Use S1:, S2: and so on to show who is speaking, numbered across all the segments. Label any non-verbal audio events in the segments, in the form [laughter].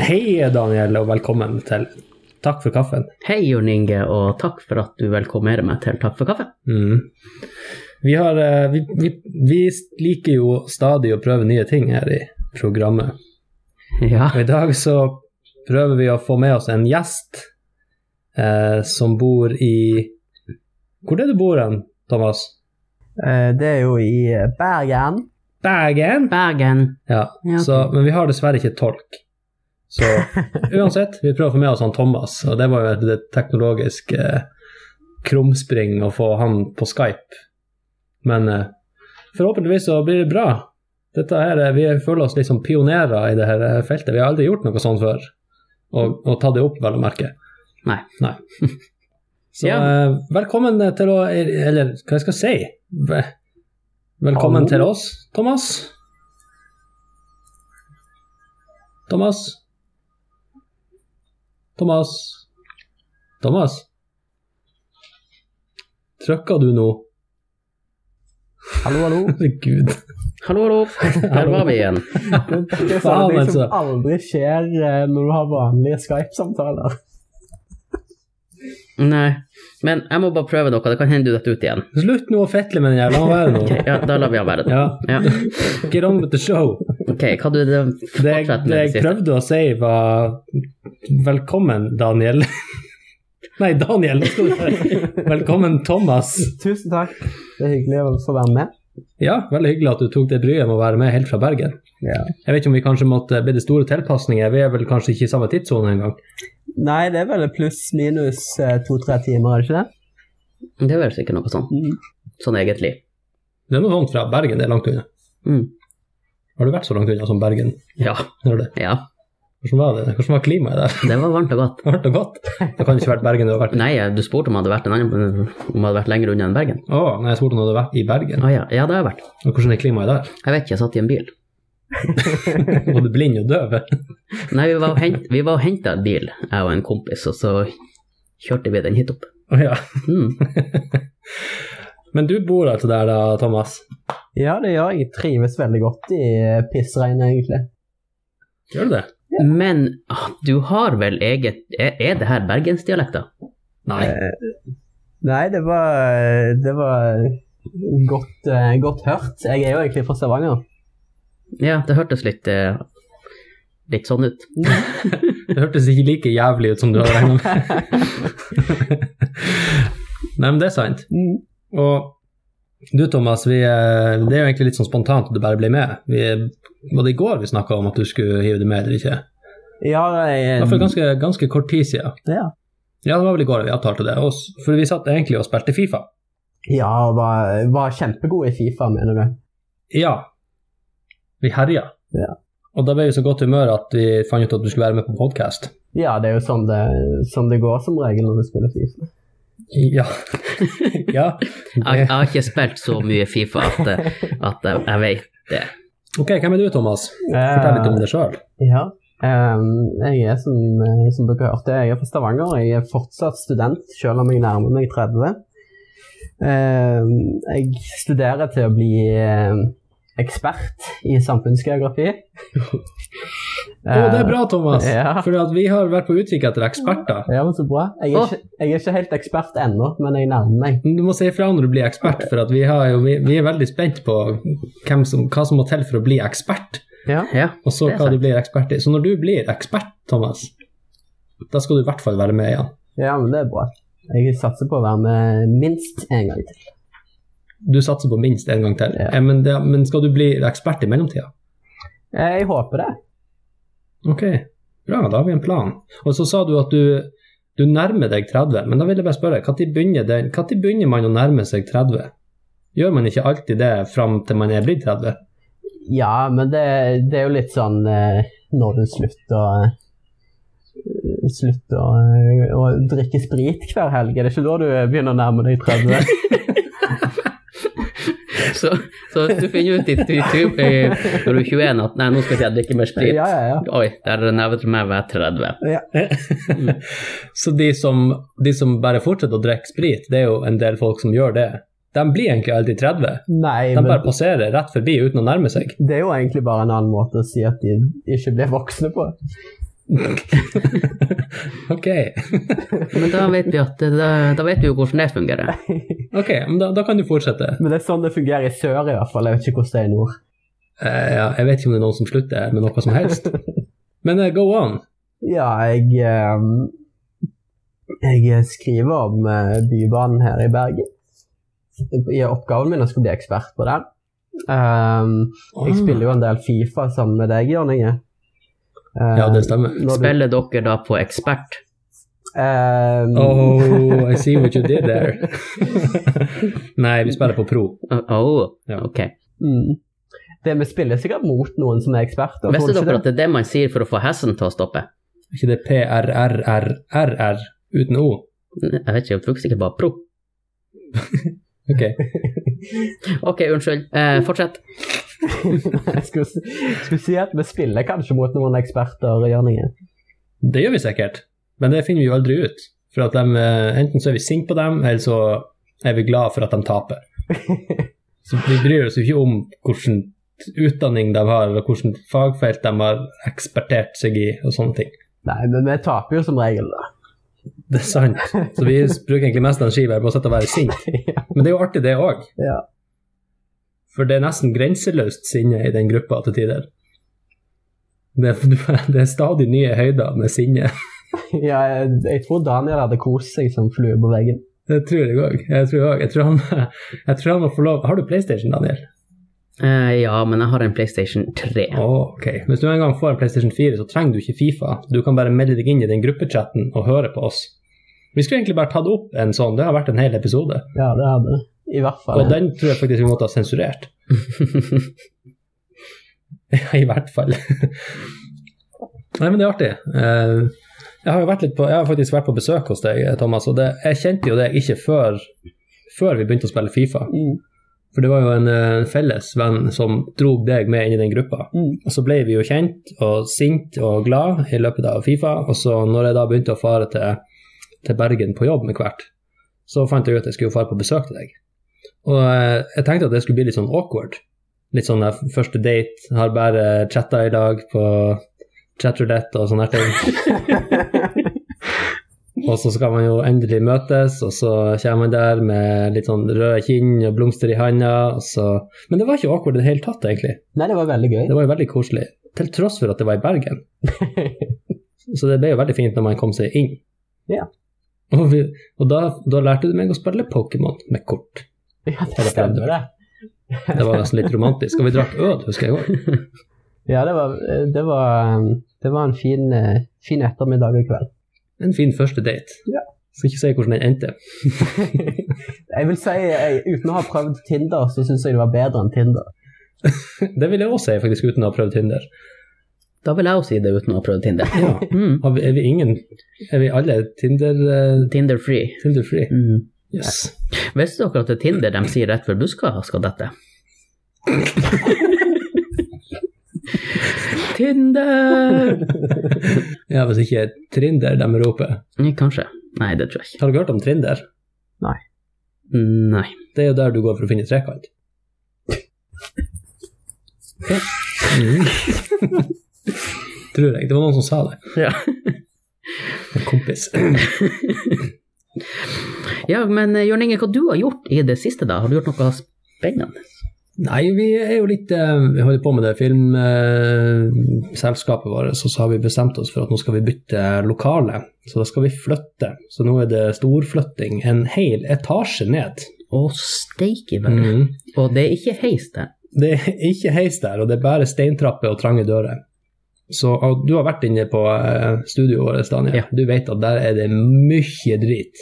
S1: Hei, Daniel, og velkommen til Takk for kaffen.
S2: Hei, Jørn Inge, og takk for at du velkommerer meg til Takk for kaffe. [laughs]
S1: Mm. Vi, har, eh, vi, vi, vi liker jo stadig å prøve nye ting her i programmet.
S2: Ja,
S1: Og i dag så prøver vi å få med oss en gjest eh, som bor i Hvor er det du bor hen, Thomas?
S3: Eh, Det er jo i eh, Bergen.
S1: Bergen?
S2: Bergen.
S1: Ja,
S2: Ja, ok.
S1: så, men vi har dessverre ikke tolk.
S2: [laughs]
S1: Så uansett, vi prøver å få med oss han Thomas, og det var jo et, et teknologisk eh, krumspring å få han på Skype. Men eh, forhåpentligvis så blir det bra. Dette her, eh, Vi føler oss litt som pionerer i det her eh, feltet. Vi har aldri gjort noe sånt før, og, og tatt det opp, vel å merke.
S2: Nei.
S1: Så
S2: Ja.
S1: eh, velkommen til å Eller hva jeg skal si? Ve- Velkommen
S3: Hallo.
S1: til oss, Thomas. Thomas. Thomas. Thomas. Trykka du nå?
S3: Hallo, hallo.
S1: Herregud.
S2: Hallo, hallo. Her var vi igjen.
S3: [laughs] Det
S1: Faen,
S3: er sånne ting
S1: altså.
S3: som aldri skjer eh, når du har vanlige Skype-samtaler. [laughs]
S2: Nei, men jeg må bare prøve noe. Det kan hende du detter ut igjen.
S1: Slutt nå å fetle med den her, la han være nå.
S2: Ja, da lar vi han
S3: [laughs]
S2: være. da.
S1: Ja.
S2: Ja.
S1: Get on with the show.
S2: Ok, hva du det-
S1: Det jeg,
S2: fortsett med
S1: det
S2: det
S1: jeg
S2: siste?
S1: prøvde å si, var Velkommen, Daniel. [laughs] Nei, Daniel. skal du
S2: [laughs]
S1: si. Velkommen, Thomas.
S3: Tusen takk. Det er hyggelig å få være med.
S1: Ja, veldig hyggelig at du tok det bryet med å være med helt fra Bergen.
S3: Ja.
S1: Jeg vet ikke om vi kanskje måtte bli det store tilpasninger, vi er vel kanskje ikke i samme tidssone engang.
S3: Nei, det er vel pluss-minus eh, to-tre timer, er det ikke det?
S2: Det høres ikke noe sånn.
S3: Mm.
S2: Sånn egentlig.
S1: Det er noe sånt fra Bergen, det er langt unna.
S2: Mm.
S1: Har du vært så langt unna som Bergen?
S2: Ja,
S1: Når det?
S2: ja.
S1: Hvordan var det? Hvordan var klimaet der? [laughs]
S2: Det var varmt og godt.
S1: Var det godt? Det kan ikke vært Bergen du har vært i.
S2: Nei, eh, du spurte om jeg hadde vært, en annen, om jeg hadde vært lenger unna enn Bergen.
S1: Å, nei, jeg spurte om du hadde vært i Bergen.
S2: Å ja. ja, det har jeg vært.
S1: Og hvordan er klimaet
S2: [laughs]
S1: der?
S2: Jeg vet ikke, jeg satt i en bil.
S1: Var du blind og døv?
S2: Nei, vi var og hent- vi var og henta en bil, jeg og en kompis, og så kjørte vi den hit opp.
S1: Å ja.
S2: Mm.
S1: Men du bor altså der da, Thomas?
S3: Ja, det gjør jeg. Jeg Trives veldig godt i eh, pissregnet, egentlig.
S1: Gjør du det?
S2: Men ah, du har vel eget Er, er det her bergensdialekta?
S1: Nei.
S3: Nei, det var, eh, det var godt, eh, godt hørt. Jeg er jo egentlig fra Stavanger.
S2: Ja, det hørtes litt eh, Litt sånn ut.
S1: Det hørtes ikke like jævlig ut som du hadde regna med.
S3: [laughs]
S1: Nei, men det er sant.
S3: Mm.
S1: Og du, Thomas, vi, eh, det er jo egentlig litt sånn spontant at du bare blir med. Vi, var det i går vi snakka om at du skulle hive deg med eller ikke?
S3: Ja,
S1: I
S3: jeg, eh,
S1: hvert fall ganske, ganske kort tid siden.
S3: ja.
S1: Ja, det var vel i går vi avtalte det. Og, s- for vi satt egentlig og spilte Fifa.
S3: ja var, var kjempegod i Fifa, mener du?
S1: Ja. Vi herja.
S3: Ja.
S1: Og da ble vi i så godt humør at vi fant ut at du skulle være med på podkast.
S3: Ja, det er jo sånn det, sånn det går som regel når du spiller FIFA.
S1: [laughs] Ja. ja.
S2: Jeg, jeg har ikke spilt så mye Fifa at, eh, at jeg, jeg vet det.
S1: Ok, hvem er du, Thomas? Fortell litt om deg sjøl.
S3: Eh, Ja. Ehm, jeg er som, eh, som dere hørte, jeg er fra Stavanger. Jeg er fortsatt student, selv om jeg nærmer meg 30. Ehm, jeg studerer til å bli eh, ekspert i samfunnsgeografi.
S1: Å,
S2: Eh,
S1: det er bra, Thomas.
S3: Ja.
S1: For at vi har vært på utkikk etter eksperter.
S3: Eh, Ja, men så bra. Jeg er,
S2: Åh.
S3: ikke, jeg er ikke helt ekspert ennå, men jeg nærmer meg.
S1: Men Du må si ifra når du blir ekspert, for at vi, har jo, vi, vi er veldig spent på hvem som, hva som må til for å bli ekspert,
S3: Ja.
S2: Ja,
S1: og så
S2: Det er
S1: hva du
S2: sant.
S1: blir ekspert i. Så når du blir ekspert, Thomas, da skal du i hvert fall være med igjen.
S3: ja, men det er bra. Jeg satser på å være med minst én gang til.
S1: Du satser på minst én gang til.
S3: Ja.
S1: Eh, Men, det, men skal du bli ekspert i mellomtida?
S3: Eh, Jeg håper det.
S1: Ok, bra, da har vi en plan. Og så sa du at du, du nærmer deg 30, men da vil jeg bare spørre, når begynner, den- hva tid begynner man å nærme seg 30? Gjør man ikke alltid det fram til man er blitt 30?
S3: Ja, men det, det er jo litt sånn eh, når du slutter eh, Slutter å, eh, å drikke sprit hver helg, er det ikke da du begynner å nærme deg 30?
S2: så, så hvis du finner ut i, i, i, i, når du er 21 at nei, nå skal ikke jeg drikke mer sprit
S3: ja, ja, ja.
S2: Oi, der er neven til meg ved 30.
S1: Så de som, de som bare fortsetter å drikke sprit, det er jo en del folk som gjør det. De blir egentlig alltid 30.
S3: Nei,
S1: De
S3: men
S1: bare passerer rett forbi uten å nærme seg.
S3: det er jo egentlig bare en annen måte å si at de ikke blir voksne på.
S1: Ok,
S2: Men da vet vi, at, eh, da, da vet vi jo hvordan det fungerer.
S1: ok, men da, da kan du fortsette.
S3: Men det er sånn det fungerer i sør i hvert fall. Jeg vet ikke hvordan det er i nord.
S1: Eh, ja, jeg vet ikke om det er noen som slutter her med noe som
S3: [laughs]
S1: helst. Men eh, go on.
S3: Ja, jeg eh, Jeg skriver om eh, Bybanen her i Bergen. I oppgaven min jeg skulle bli ekspert på den. Ehm, jeg spiller jo en del Fifa sammen med deg, Jørn Inge. Ehm,
S1: Ja, det stemmer.
S3: når du-
S2: Spiller dere da på ekspert?
S3: Ehm,
S1: Oh, I see what you did there. Nei, vi spiller på pro.
S2: Å, å,
S1: Ja.
S2: ok.
S3: mm. Det vi spiller sikkert mot noen som er eksperter. tror
S2: Visste
S3: du ikke
S2: dere
S1: [laughs]
S3: det?
S2: at det er det man sier for å få hesten til å stoppe?
S1: Er ikke det PRRRRR uten O?
S2: Jeg vet ikke, jeg brukte sikkert bare pro.
S1: Ok.
S2: Ok, unnskyld. Eh, fortsett.
S3: jeg skulle, si- skulle si at vi spiller kanskje mot noen eksperter, Jørn Inge.
S1: Det gjør vi sikkert, men det finner vi jo aldri ut. For at dem, eh, Enten så er vi sinte på dem, eller så er vi glad for at de taper. Så Vi bryr oss jo ikke om hvilken utdanning de har, eller hvilket fagfelt de har ekspertert seg i, og sånne ting.
S3: Nei, men vi taper jo som regel, da. [laughs]
S1: Det er sant. Så vi bruker egentlig mest energi bare på å sitte og være sinte. Men det er jo artig, det òg.
S3: Ja.
S1: For det er nesten grenseløst sinne i den gruppa til tider. Det, det er [laughs] stadig nye høyder med sinne.
S3: Ja, jeg, jeg tror Daniel hadde kost seg som flue på veggen.
S1: Det tror jeg òg. Jeg tror òg. Jeg, tror han- jeg tror han må få lov Har du PlayStation, Daniel?
S2: Eh, ja, men jeg har en PlayStation 3.
S1: Å, ok. Hvis du en gang får en PlayStation 4, så trenger du ikke Fifa. Du kan bare melde deg inn i den gruppechatten og høre på oss. Vi skulle egentlig bare tatt opp en sånn, det har vært en hel episode.
S3: Ja, det hadde det. I hvert fall.
S1: Og den tror jeg faktisk vi måtte ha sensurert. [laughs] Ja, I hvert fall. Nei, men det er artig. Eh, Jeg har jo vært litt på, jeg har faktisk vært på besøk hos deg, Thomas, og det, jeg kjente jo det ikke før, før vi begynte å spille Fifa.
S3: Mm,
S1: For det var jo en eh, felles venn som drog deg med inn i den gruppa.
S3: mm.
S1: Og så ble vi jo kjent og sint og glad i løpet av Fifa. Og så når jeg da begynte å fare til, til Bergen på jobb med hvert, så fant jeg ut at jeg skulle fare på besøk til deg. Og eh, jeg tenkte at det skulle bli litt sånn awkward. Litt sånn der første date, har bare chatta i dag på chatrulett og sånne her ting. og så skal man jo endelig møtes, og så kommer man der med litt sånn røde kinn og blomster i handa, og så Men det var ikke awkward i det hele tatt, egentlig.
S3: Nei, det var veldig gøy. [laughs]
S1: Det var jo veldig koselig, til tross for at det var i Bergen. Så det ble jo veldig fint når man kom seg inn.
S3: Ja.
S1: Og, vi, og da, da lærte du meg å spille Pokémon med kort.
S3: Ja, det stemmer det.
S1: Det var nesten litt romantisk. Og vi drakk øl, husker jeg òg.
S3: Ja, det var, eh, det var, um, det var en fin, eh, fin ettermiddag i kveld.
S1: En fin første date.
S3: Ja.
S1: Skal ikke si hvordan den endte.
S3: Jeg vil si, jeg, uten å ha prøvd Tinder, så syns jeg det var bedre enn Tinder.
S1: Det vil jeg òg si, faktisk, uten å ha prøvd Tinder.
S2: Da vil jeg jo si det uten å ha prøvd Tinder.
S1: Ja.
S2: Mm.
S1: Har vi, er vi ingen Er vi alle Tinder, eh,
S2: Tinder free.
S1: Tinder-free?
S2: Mm.
S1: Yes.
S2: Visste dere at det er Tinder de sier rett før du skal, skal dette? Tinder!
S1: Ja, hvis ikke Trinder de roper.
S2: Nei, Kanskje. Nei, det tror jeg ikke.
S1: Har du hørt om Trinder?
S2: Nei.
S1: Det er jo der du går for å finne trekant. Mm. Tror jeg. Det var noen som sa det.
S2: Ja.
S1: En kompis.
S2: Ja, men eh, Jørn Inge, hva du har gjort i det siste da? Har du gjort noe spennende?
S1: Nei, vi er jo litt eh, Vi holder på med det filmselskapet vårt, og så har vi bestemt oss for at nå skal vi bytte lokale. Så da skal vi flytte. Så nå er det storflytting en hel etasje ned.
S2: Å, steike vel. Og det er ikke heis det.
S1: Det er ikke heis der, og det er bare steintrapper og trange dører. Så og du har vært inne på eh, studioet vårt, Daniel.
S2: Ja.
S1: Du vet at der er det mye drit.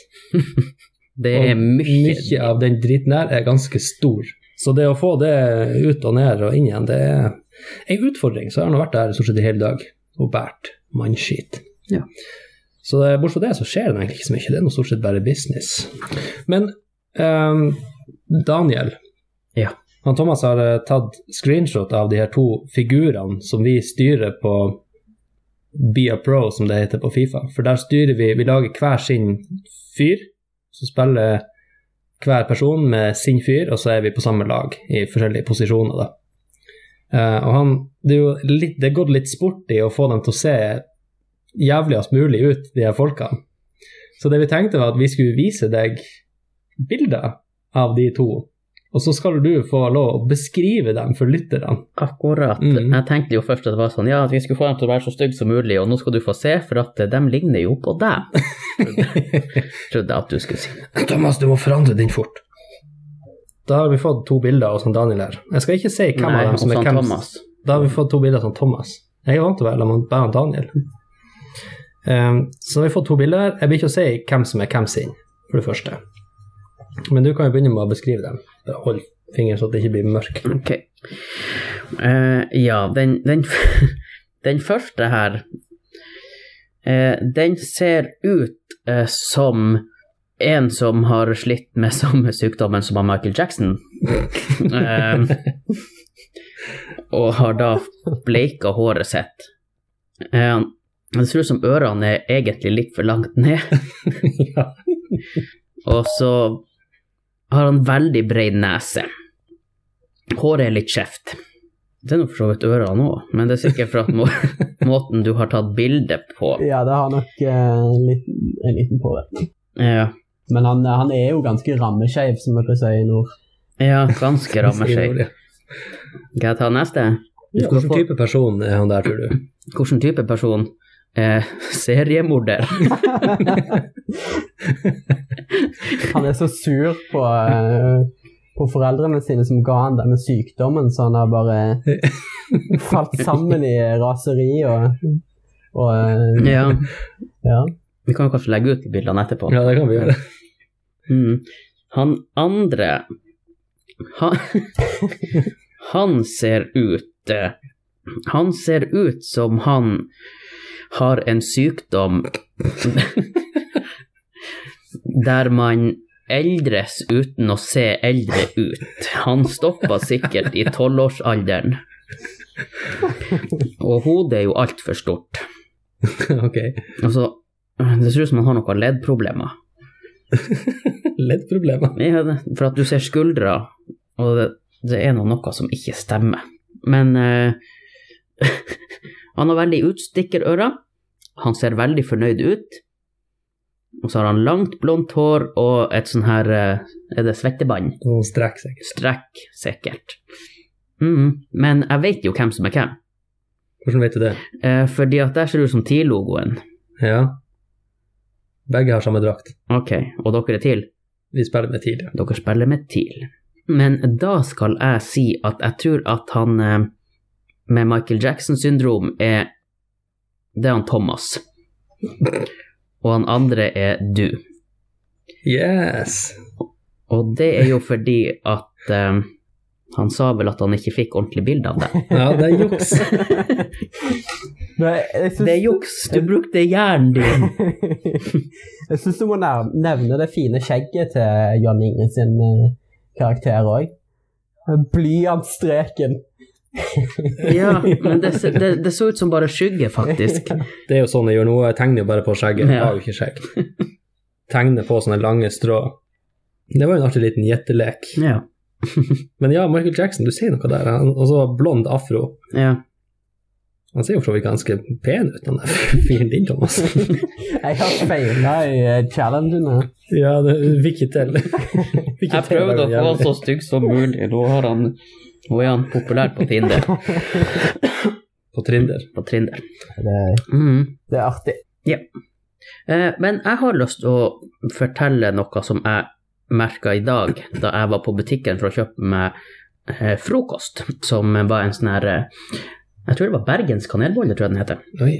S2: Det er
S1: Og
S2: mye.
S1: mye av den driten der er ganske stor. Så det å få det ut og ned og inn igjen, det er en utfordring. Så jeg har nå vært der stort sett i hele dag og båret mannskit.
S2: Ja.
S1: Så eh, bortsett fra det, så skjer det egentlig ikke så mye. Det er nå stort sett bare business. Men ehm, Daniel
S2: Ja.
S1: han Thomas har eh, tatt screenshot av de her to figurene som vi styrer på Be a Pro, som det heter på Fifa. For der styrer vi Vi lager hver sin fyr så spiller hver person med sin fyr, og så er vi på samme lag i forskjellige posisjoner. Da. Eh, og han, det, er jo litt, det er gått litt sport i å få dem til å se jævligst mulig ut, de her folkene. Så det vi tenkte var at vi skulle vise deg bilder av de to, og så skal du få lov å beskrive dem for lytterne.
S2: Akkurat.
S1: Mm.
S2: Jeg tenkte jo først at det var sånn, ja, at vi skulle få dem til å være så stygge som mulig, og nå skal du få se, for at eh, dem ligner jo på
S1: [laughs]
S2: deg. Trodde jeg at du skulle si.
S1: Thomas, du må forandre den fort. Da har vi fått to bilder av sånn Daniel her. Jeg skal ikke si hvem
S2: Nei,
S1: av dem som
S2: og
S1: er
S2: sånn
S1: hvem.
S2: Thomas.
S1: Da har vi fått to bilder av sånn Thomas. Jeg er vant til å være sammen med bare Daniel. Um, så har vi fått to bilder her. Jeg blir ikke å si hvem som er hvem sin, for det første. Men du kan jo begynne med å beskrive dem. Bare Hold fingeren så det ikke blir mørk.
S2: [laughs] Ok. Eh, ja, den, den, [laughs] den første her, eh, den ser ut eh, som en som har slitt med samme sykdommen som han Michael Jackson. Eh, og har da bleika håret sitt. Eh, det ser ut som ørene er egentlig litt for langt ned.
S1: ja.
S2: Og så har han veldig bred nese. Håret er litt skjevt. Det er nå for så vidt ørene òg, men det er sikkert for at må måten du har tatt bilde på.
S3: Ja, det har nok eh, en liten, en liten påvirkning.
S2: Ja,
S3: Men han, eh, han er jo ganske rammeskeiv, som vi pleier å si i nord.
S2: ja
S1: [laughs]
S2: ganske rammer seg.
S1: Sier Nordli.
S2: Skal jeg ta neste?
S3: Ja,
S1: Hvilken type person er han der, tror du?
S2: Hvilken type person? Eh, [laughs] seriemorder.
S3: Han er så sur på, eh, på foreldrene sine som ga han denne sykdommen, så han har bare falt sammen i raseri og, og eh,
S2: Ja,
S3: ja.
S2: vi kan jo kanskje legge ut de bildene etterpå.
S1: [laughs] Ja, det kan vi gjøre.
S2: Mm. Han andre han, han ser ut eh, Han ser ut som han har en sykdom der man eldres uten å se eldre ut. Han stoppa sikkert i tolvårsalderen. Og hodet er jo altfor stort.
S1: [laughs] ok.
S2: Altså, det ser ut som han har noen leddproblemer.
S1: Leddproblemer.
S2: Ja, det- for at du ser skuldra, og det, det er nå noe som ikke stemmer. Men eh, [laughs] han har veldig utstikkerører, han ser veldig fornøyd ut, og så har han langt, blondt hår og et sånn her eh, Er det svettebånd?
S1: Noen strekker seg.
S2: Strekk, sikkert. Mm, men jeg vet jo hvem som er hvem,
S1: Hvordan vet du det?
S2: eh, fordi at der ser det ut som TIL-logoen.
S1: Ja. Begge har samme drakt.
S2: Ok, og dere er TIL?
S1: Vi spiller med tidligere.
S2: Dere spiller med TIL. Men da skal jeg si at jeg tror at han eh, med Michael Jackson-syndrom er Det er han Thomas. Og han andre er du.
S1: Yes!
S2: Og det er jo fordi at eh, Han sa vel at han ikke fikk ordentlig bilde av deg.
S1: Ja, det er [laughs] juks.
S3: Men jeg- jeg syns-
S2: Det er juks! Du brukte hjernen din!
S3: [laughs] Jeg syns du må nær- nevne det fine skjegget til Jan Inge sin eh, karakter òg. Blyantstreken.
S2: Ja, men det, ser- det, det så ut som bare skygge, faktisk.
S1: Det er jo sånn jeg gjør nå. Jeg tegner jo bare på skjegget. Jeg
S2: Ja.
S1: har jo ikke skjegg. Tegner på sånne lange strå. Det var jo en artig liten gjettelek.
S2: Ja.
S1: Men ja, Michael Jackson, du sier noe der. Han- Og så blond afro.
S2: ja.
S1: Han ser jo for så vidt ganske pen ut, han der [laughs] fyren din,
S2: [laughs]
S1: Thomas.
S3: Jeg har feila i eh, challengen her.
S1: Ja, det fikk ikke [laughs] til. Fikk ikke
S2: Jeg
S1: til
S2: prøvde å
S1: det
S2: få han
S1: jævlig.
S2: så stygg som mulig. Nå, har han, nå er han populær på Tinder.
S1: På Trinder.
S2: På Tinder.
S3: Det,
S2: Mhm.
S3: det er artig.
S2: Eh, men jeg har lyst til å fortelle noe som jeg merka i dag, da jeg var på butikken for å kjøpe meg eh, frokost, som var en sånn her eh, Jeg tror det var Bergens kanelbolle, tror jeg den heter.
S1: Oi.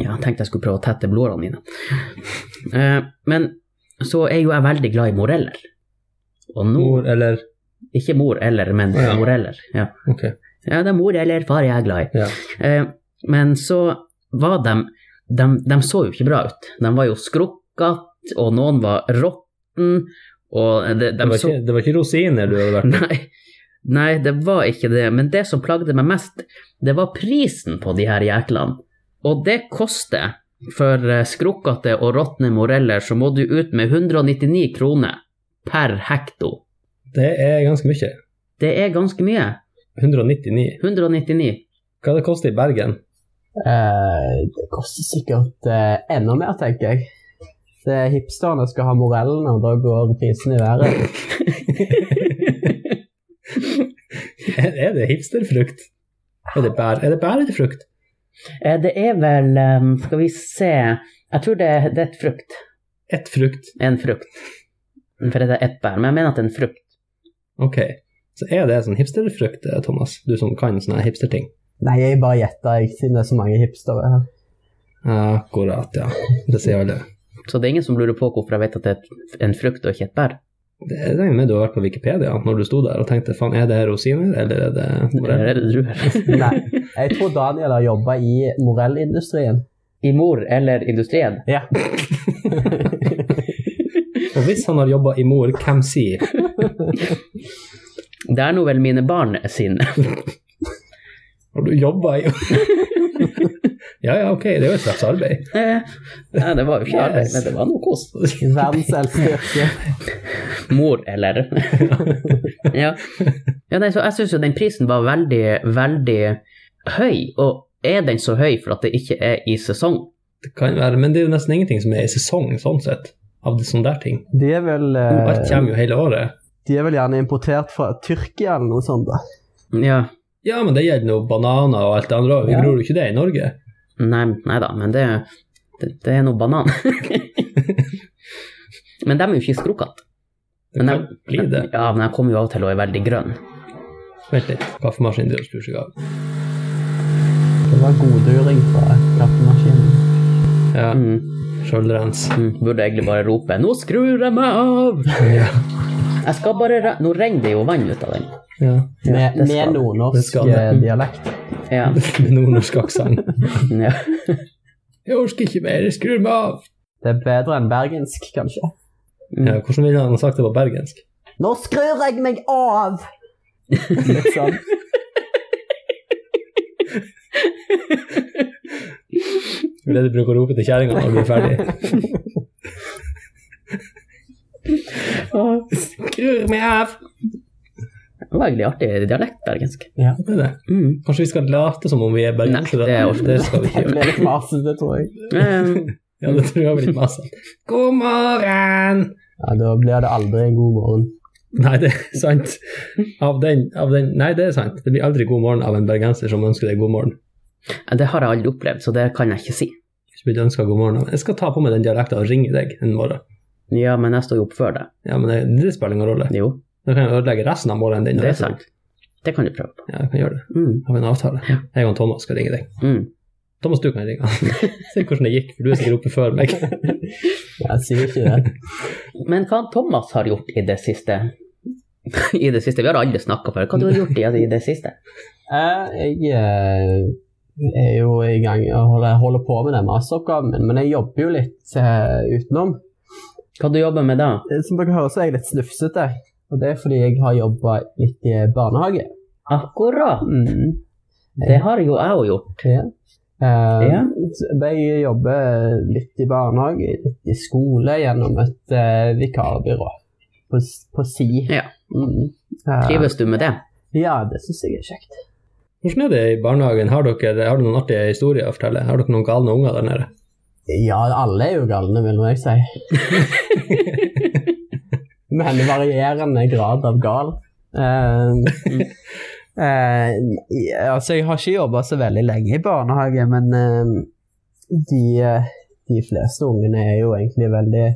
S2: Ja, jeg tenkte jeg skulle prøve å tette blodårene mine. Eh, men så er jo jeg veldig glad i moreller. Og nå
S1: Mor, eller
S2: Ikke mor eller, men
S1: Å, ja.
S2: moreller. Ja.
S1: Ok.
S2: Ja, det er mor eller far jeg er glad i.
S1: Ja.
S2: Eh, men så var de, de De så jo ikke bra ut. De var jo skrukkete, og noen var råtten, og de,
S1: Det var,
S2: de så
S1: ikke, det var ikke rosiner du hadde vært
S2: [laughs] Nei. Nei, det var ikke det. Men det som plagde meg mest, det var prisen på de her jæklene. Og det koster. For eh, skrukkete og råtne moreller så må du ut med 199 kroner per hekto.
S1: Det er ganske mye.
S2: Det er ganske mye.
S1: 199.
S2: 199.
S1: Hva det koster i Bergen? [laughs]
S3: Eh, det koster sikkert eh, enda mer, tenker jeg. Det er hipsterne skal ha morellen, og da går prisen i været.
S1: Er er det hipsterfrukt? Er det bær? Er det bær eller frukt?
S2: Eh, Det er vel ehm, Skal vi se Jeg tror det, det er et frukt.
S1: Ett frukt.
S2: En frukt. For det er ett bær, men jeg mener at det er en frukt.
S1: Ok. Så er det sånn hipsterfrukt, eh, Thomas? Du som kan sånne hipsterting?
S3: Nei, jeg bare gjetter, jeg, siden det er så mange hipstere her.
S1: Ja, Akkurat, ja. Det sier alle.
S2: Så det er ingen som lurer på hvorfor jeg vet at det er et- en frukt og ikke et bær.
S1: Det er det med du har vært på Wikipedia når du sto der og tenkte faen, er det her rosiner, eller er det
S2: Eller
S1: morell?
S2: er det druer?
S3: Nei, jeg tror Daniel har jobba i morellindustrien.
S2: [laughs] I mor eller industrien?
S3: Ja.
S1: Og hvis han har jobba i mor, hvem sier?
S2: Det er nå vel mine barn sine.
S1: Har du jobba i
S2: [laughs]
S1: Ja ja, ok, det er jo et slags arbeid.
S2: Eh, [laughs] Nei, det var jo ikke
S1: Yes.
S2: arbeid, men det var noe kos.
S3: Verdens eldste yrke.
S2: Mor eller [laughs] Ja. ja nei, så jeg syns jo den prisen var veldig, veldig høy. Og er den så høy for at det ikke er i sesong?
S1: Det kan være, men det er jo nesten ingenting som er i sesong, sånn sett. Av det sånne der ting.
S3: De er vel eh,
S1: Alt kommer jo hele året.
S3: De er vel gjerne importert fra Tyrkia eller noe sånt. da.
S2: Ja.
S1: Ja, men det gjelder nå bananer og alt det andre òg. Vi
S3: Ja.
S1: gror jo ikke det i Norge.
S2: Nei, nei da, men det, det, det er noe [laughs] banan. men de er jo ikke skrukkete.
S1: Det kan bli det.
S2: Ja, men de kommer jo av og til og er veldig grønne.
S1: Vent litt, kaffemaskinen driver og skrur seg av.
S3: Det var godduring fra kaffemaskinen.
S1: Ja,
S2: Mm.
S1: Skjoldrens.
S2: Mm, Burde egentlig bare rope 'Nå skrur jeg meg av'!
S1: [laughs] Ja.
S2: Jeg skal bare re Nå renner det jo vann ut av den.
S1: ja.
S3: Med,
S2: det skal
S3: med
S2: det.
S1: Det
S3: nordnorsk
S1: skal det.
S3: eh, dialekt.
S2: Ja.
S1: Med nordnorsk aksent.
S2: ja.
S1: Jeg orker ikke mer, jeg skrur meg av!
S3: Det er bedre enn bergensk, kanskje.
S1: Ja,
S2: Mm.
S1: hvordan ville han ha sagt det på bergensk?
S3: Nå skrur jeg meg av! Litt [laughs] sånn.
S1: Det er det du bruker å rope til kjerringa når du er ferdig. Skrur meg av!
S2: Det var egentlig artig dialekt, bergensk.
S1: Hva er det?
S2: Mm.
S1: Kanskje vi skal late som om vi er bergensere?
S2: Nei, det orker jeg
S1: det skal vi ikke
S3: Det
S1: gjøre.
S3: blir litt masete, tror jeg.
S2: Eh,
S1: Ja, det tror jeg blir litt masete. God morgen!
S3: Ja, Da blir det aldri en god morgen.
S1: Nei, det er sant. Av den, av den Nei, det er sant. Det blir aldri god morgen av en bergenser som ønsker deg god morgen.
S2: det har jeg aldri opplevd, så det kan jeg ikke si.
S1: Hvis du ikke ønsker god morgen av Jeg skal ta på meg den dialekten og ringe deg en morgen.
S2: Ja, men jeg står jo opp før deg.
S1: Ja, men det, det spiller ingen rolle.
S2: Jo,
S1: Da kan jeg ødelegge resten av morgenen din.
S2: det er sant. Det kan du prøve på.
S1: Ja, jeg kan gjøre det.
S2: Mm.
S1: Har vi en avtale?
S2: Ja.
S1: Jeg og Thomas skal ringe deg.
S2: Mm.
S1: Thomas, du kan ringe. [laughs] Se hvordan det gikk, for du er sikkert oppe før
S2: [laughs]
S1: meg.
S3: Jeg sier ikke det.
S2: Men hva Thomas har gjort i det siste? [laughs] I det siste? Vi har aldri snakka før. Hva du har gjort i, i det siste?
S3: Eh, Jeg eh, er jo i gang og holder, holder på med den masteroppgaven min, men jeg jobber jo litt eh, utenom.
S2: Hva du jobber med da?
S3: Eh, Som dere hører, så er jeg litt snufsete. Og det er fordi jeg har jobba litt i barnehage.
S2: Akkurat!
S3: Mm.
S2: Det har jo jeg òg gjort.
S3: Ja. Eh,
S2: Ja.
S3: så Jeg jobber litt i barnehage, litt i skole, gjennom et eh, vikarbyrå på, s- på si.
S2: Ja.
S3: Mm. Eh,
S2: Trives du med det?
S3: ja, det syns jeg er kjekt.
S1: Hvordan er det i barnehagen? Har dere, har dere noen artige historier å fortelle? Har dere noen galne unger der nede?
S3: Ja, alle er jo galne, vil nå jeg si. Men varierende grad av gal. Eh, eh, ja, altså, jeg har ikke jobba så veldig lenge i barnehage, men eh, de, eh, de fleste ungene er jo egentlig veldig,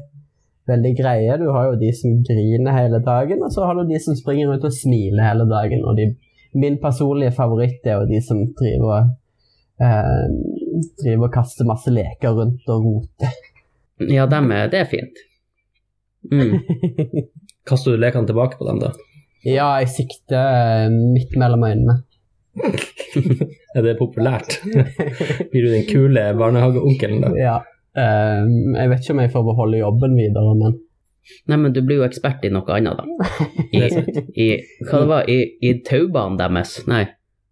S3: veldig greie. Du har jo de som griner hele dagen, og så har du de som springer rundt og smiler hele dagen. Og de, min personlige favoritt er jo de som driver og eh, driver og kaster masse leker rundt og roter.
S2: Ja, dem er, det er fint. Mm.
S1: Kaster du lekene tilbake på dem, da?
S3: Ja, jeg sikter eh, midt mellom øynene.
S1: Er det
S2: [laughs]
S1: populært? Blir du den kule barnehageonkelen, da?
S3: Ja. Eh, jeg vet ikke om jeg får beholde jobben videre, men
S2: Nei, men du blir jo ekspert i noe annet, da. I,
S1: Det er sant.
S2: i, hva det var I, i taubanen deres? Nei,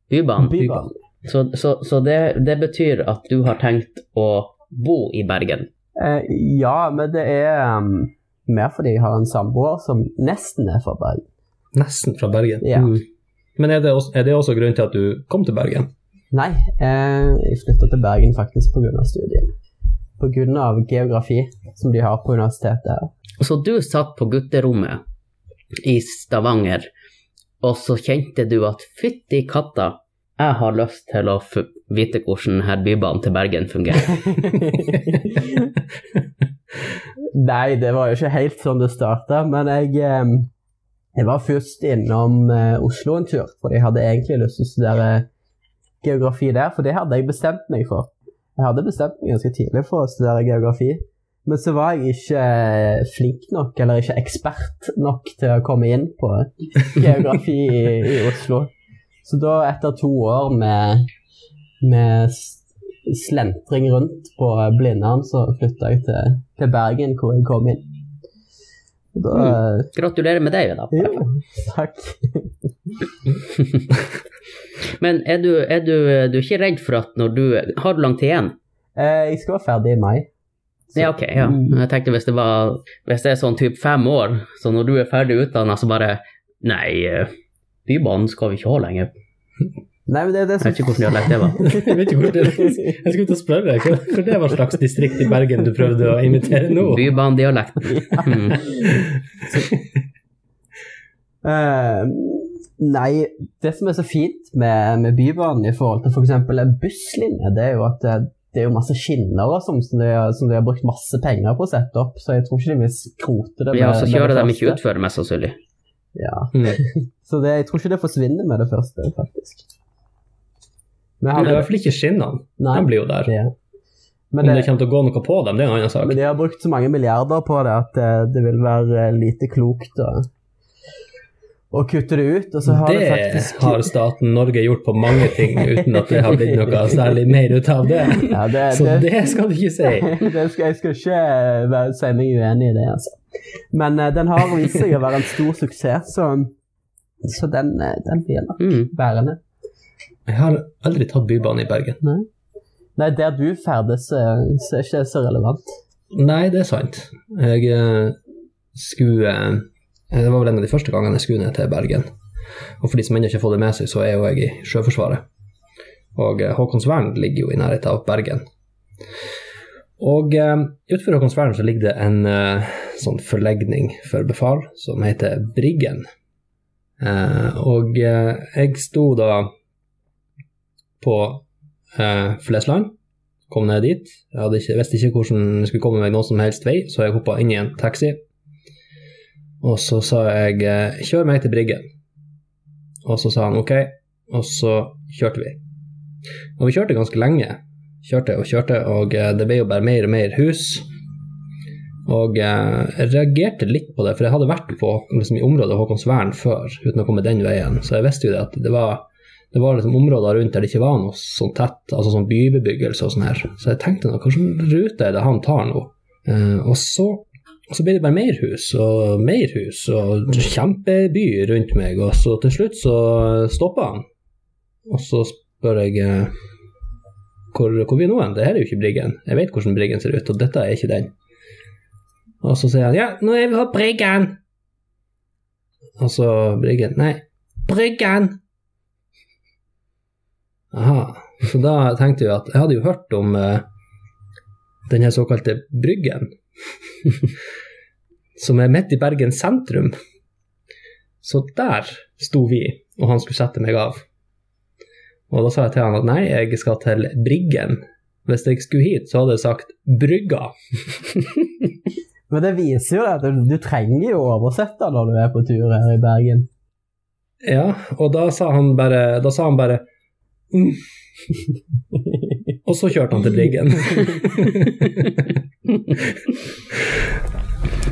S2: bybanen.
S3: Bybanen.
S2: Så, så, så det, det betyr at du har tenkt å bo i Bergen.
S3: Eh, ja, men det er um, mer fordi jeg har en samboer som nesten er fra Bergen.
S1: Nesten fra Bergen.
S3: Ja.
S2: Mm. [laughs]
S1: Men er det, også, er det også grunnen til at du kom til Bergen? [laughs]
S3: Nei, eh, jeg flytta til Bergen faktisk pga. studiet. Pga. geografi som de har på universitetet her.
S2: Så du satt på gutterommet i Stavanger, og så kjente du at fytti katta, jeg har lyst til å f vite hvordan her bybanen til Bergen
S3: [laughs]
S2: fungerer.
S1: [laughs]
S3: Nei, det var jo ikke helt sånn det starta, men jeg, eh, jeg var først innom eh, Oslo en tur, for jeg hadde egentlig lyst til å studere geografi der, for det hadde jeg bestemt meg for. Jeg hadde bestemt meg ganske tidlig for å studere geografi, men så var jeg ikke eh, flink nok, eller ikke ekspert nok til å komme inn på geografi i, i Oslo. Så da, etter to år med, med s- slentring rundt på eh, Blindern, så flytta jeg til, til Bergen, hvor jeg kom inn. Og Da, eh,
S2: Gratulerer med deg, da.
S3: jo, [laughs] takk.
S2: Men er du, er du, du er ikke redd for at når du Har du langt igjen?
S3: Eh, jeg skal være ferdig i mai. Mm.
S2: Ja, ok. ja. Jeg tenkte hvis det, var, hvis det er sånn typ fem år, så når du er ferdig utdanna, så bare Nei, eh, Bybanen skal vi ikke ha lenger.
S3: Nei, men det er det
S2: Jeg vet ikke hvordan de har lagt det var.
S3: [laughs]
S1: Jeg vet ikke hvor det Jeg skulle til å spørre deg, hva- for det var slags distrikt i Bergen du prøvde å imitere nå?
S2: Bybanedialekt. Mm.
S3: [laughs] Eh, nei, det som er så fint med, med Bybanen i forhold til f.eks. en busslinje, det er jo at det, det er jo masse skinner og sånn som, de har- som de har brukt masse penger på å sette opp, så jeg tror ikke de vil skrote det.
S2: Ja, så kjører de ikke
S3: første.
S2: utfor, mest sannsynlig.
S3: Ja.
S1: Mm.
S3: Så det, jeg tror ikke det forsvinner med det første, faktisk. Men
S1: Men det er
S3: jeg
S1: i
S3: hadde,
S1: hvert fall ikke skinnene.
S3: nei,
S1: De blir jo der.
S3: det,
S1: Om
S3: men
S1: det
S3: det,
S1: kommer til å gå noe på dem, det er en annen sak.
S3: men de har brukt så mange milliarder på det at det, det vil være eh, lite klokt å, å kutte det ut. Og så har det,
S1: Det
S3: faktisk
S1: har staten Norge gjort på mange ting uten at det har blitt noe særlig mer ut av det.
S3: [laughs] ja, det,
S1: Så
S3: det,
S1: det skal du ikke si.
S3: [laughs] det skal, jeg skal ikke eh, være, si meg uenig i det, altså. Men eh, den har vist seg å være en stor suksess, så, så den, eh, den blir nok
S2: Mm.
S3: bærende.
S1: Jeg har aldri tatt Bybanen i Bergen.
S3: Nei, der du ferdes, eh, så er ikke det så relevant.
S1: Nei, det er sant. Jeg eh, skulle eh, Det var vel en av de første gangene jeg skulle ned til Bergen. Og for de som ennå ikke har fått det med seg, så er jo jeg i Sjøforsvaret. Og eh, Håkonsvern ligger jo i nærheten av Bergen. Og eh, utenfor Håkonsvern så ligger det en eh, sånn forlegning for befal som heter Briggen. Eh, og eh, jeg sto da på eh, Flesland, kom ned dit. Jeg hadde ikke, visste ikke hvordan jeg skulle komme meg noen som helst vei, så jeg hoppa inn i en taxi. Og så sa jeg eh, 'kjør meg til Briggen'. Og så sa han ok, og så kjørte vi. Og vi kjørte ganske lenge. Kjørte og kjørte, og eh, det ble jo bare mer og mer hus. Og eh, jeg reagerte litt på det, for jeg hadde vært på, liksom, i området Håkonsvern før uten å komme den veien, så jeg visste jo det at det var det var liksom områder rundt der det ikke var noe sånn tett, altså sånn bybebyggelse og sånn her. Så jeg tenkte nå, hvilken rute er det han tar nå? Eh, og så og så blir det bare mer hus og mer hus og kjempeby rundt meg, og så til slutt så stopper han. Og så spør jeg eh, hvor, hvor vi nå hen? Det her er jo ikke Briggen. Jeg vet hvordan Briggen ser ut, og dette er ikke den. Og så sier han ja, nå er vi på Briggen. Og så Briggen nei, Bryggen. Aha. Så da tenkte jeg at jeg hadde jo hørt om eh, den her såkalte Bryggen, [laughs] som er midt i Bergen sentrum. Så der sto vi, og han skulle sette meg av. Og da sa jeg til han at nei, jeg skal til Briggen. Hvis jeg skulle hit, så hadde jeg sagt Brygga.
S3: Men det viser jo det at du, du trenger jo å oversette når du er på tur her i Bergen.
S1: Ja, og da sa han bare, da sa han bare mm. Og så kjørte han til Briggen.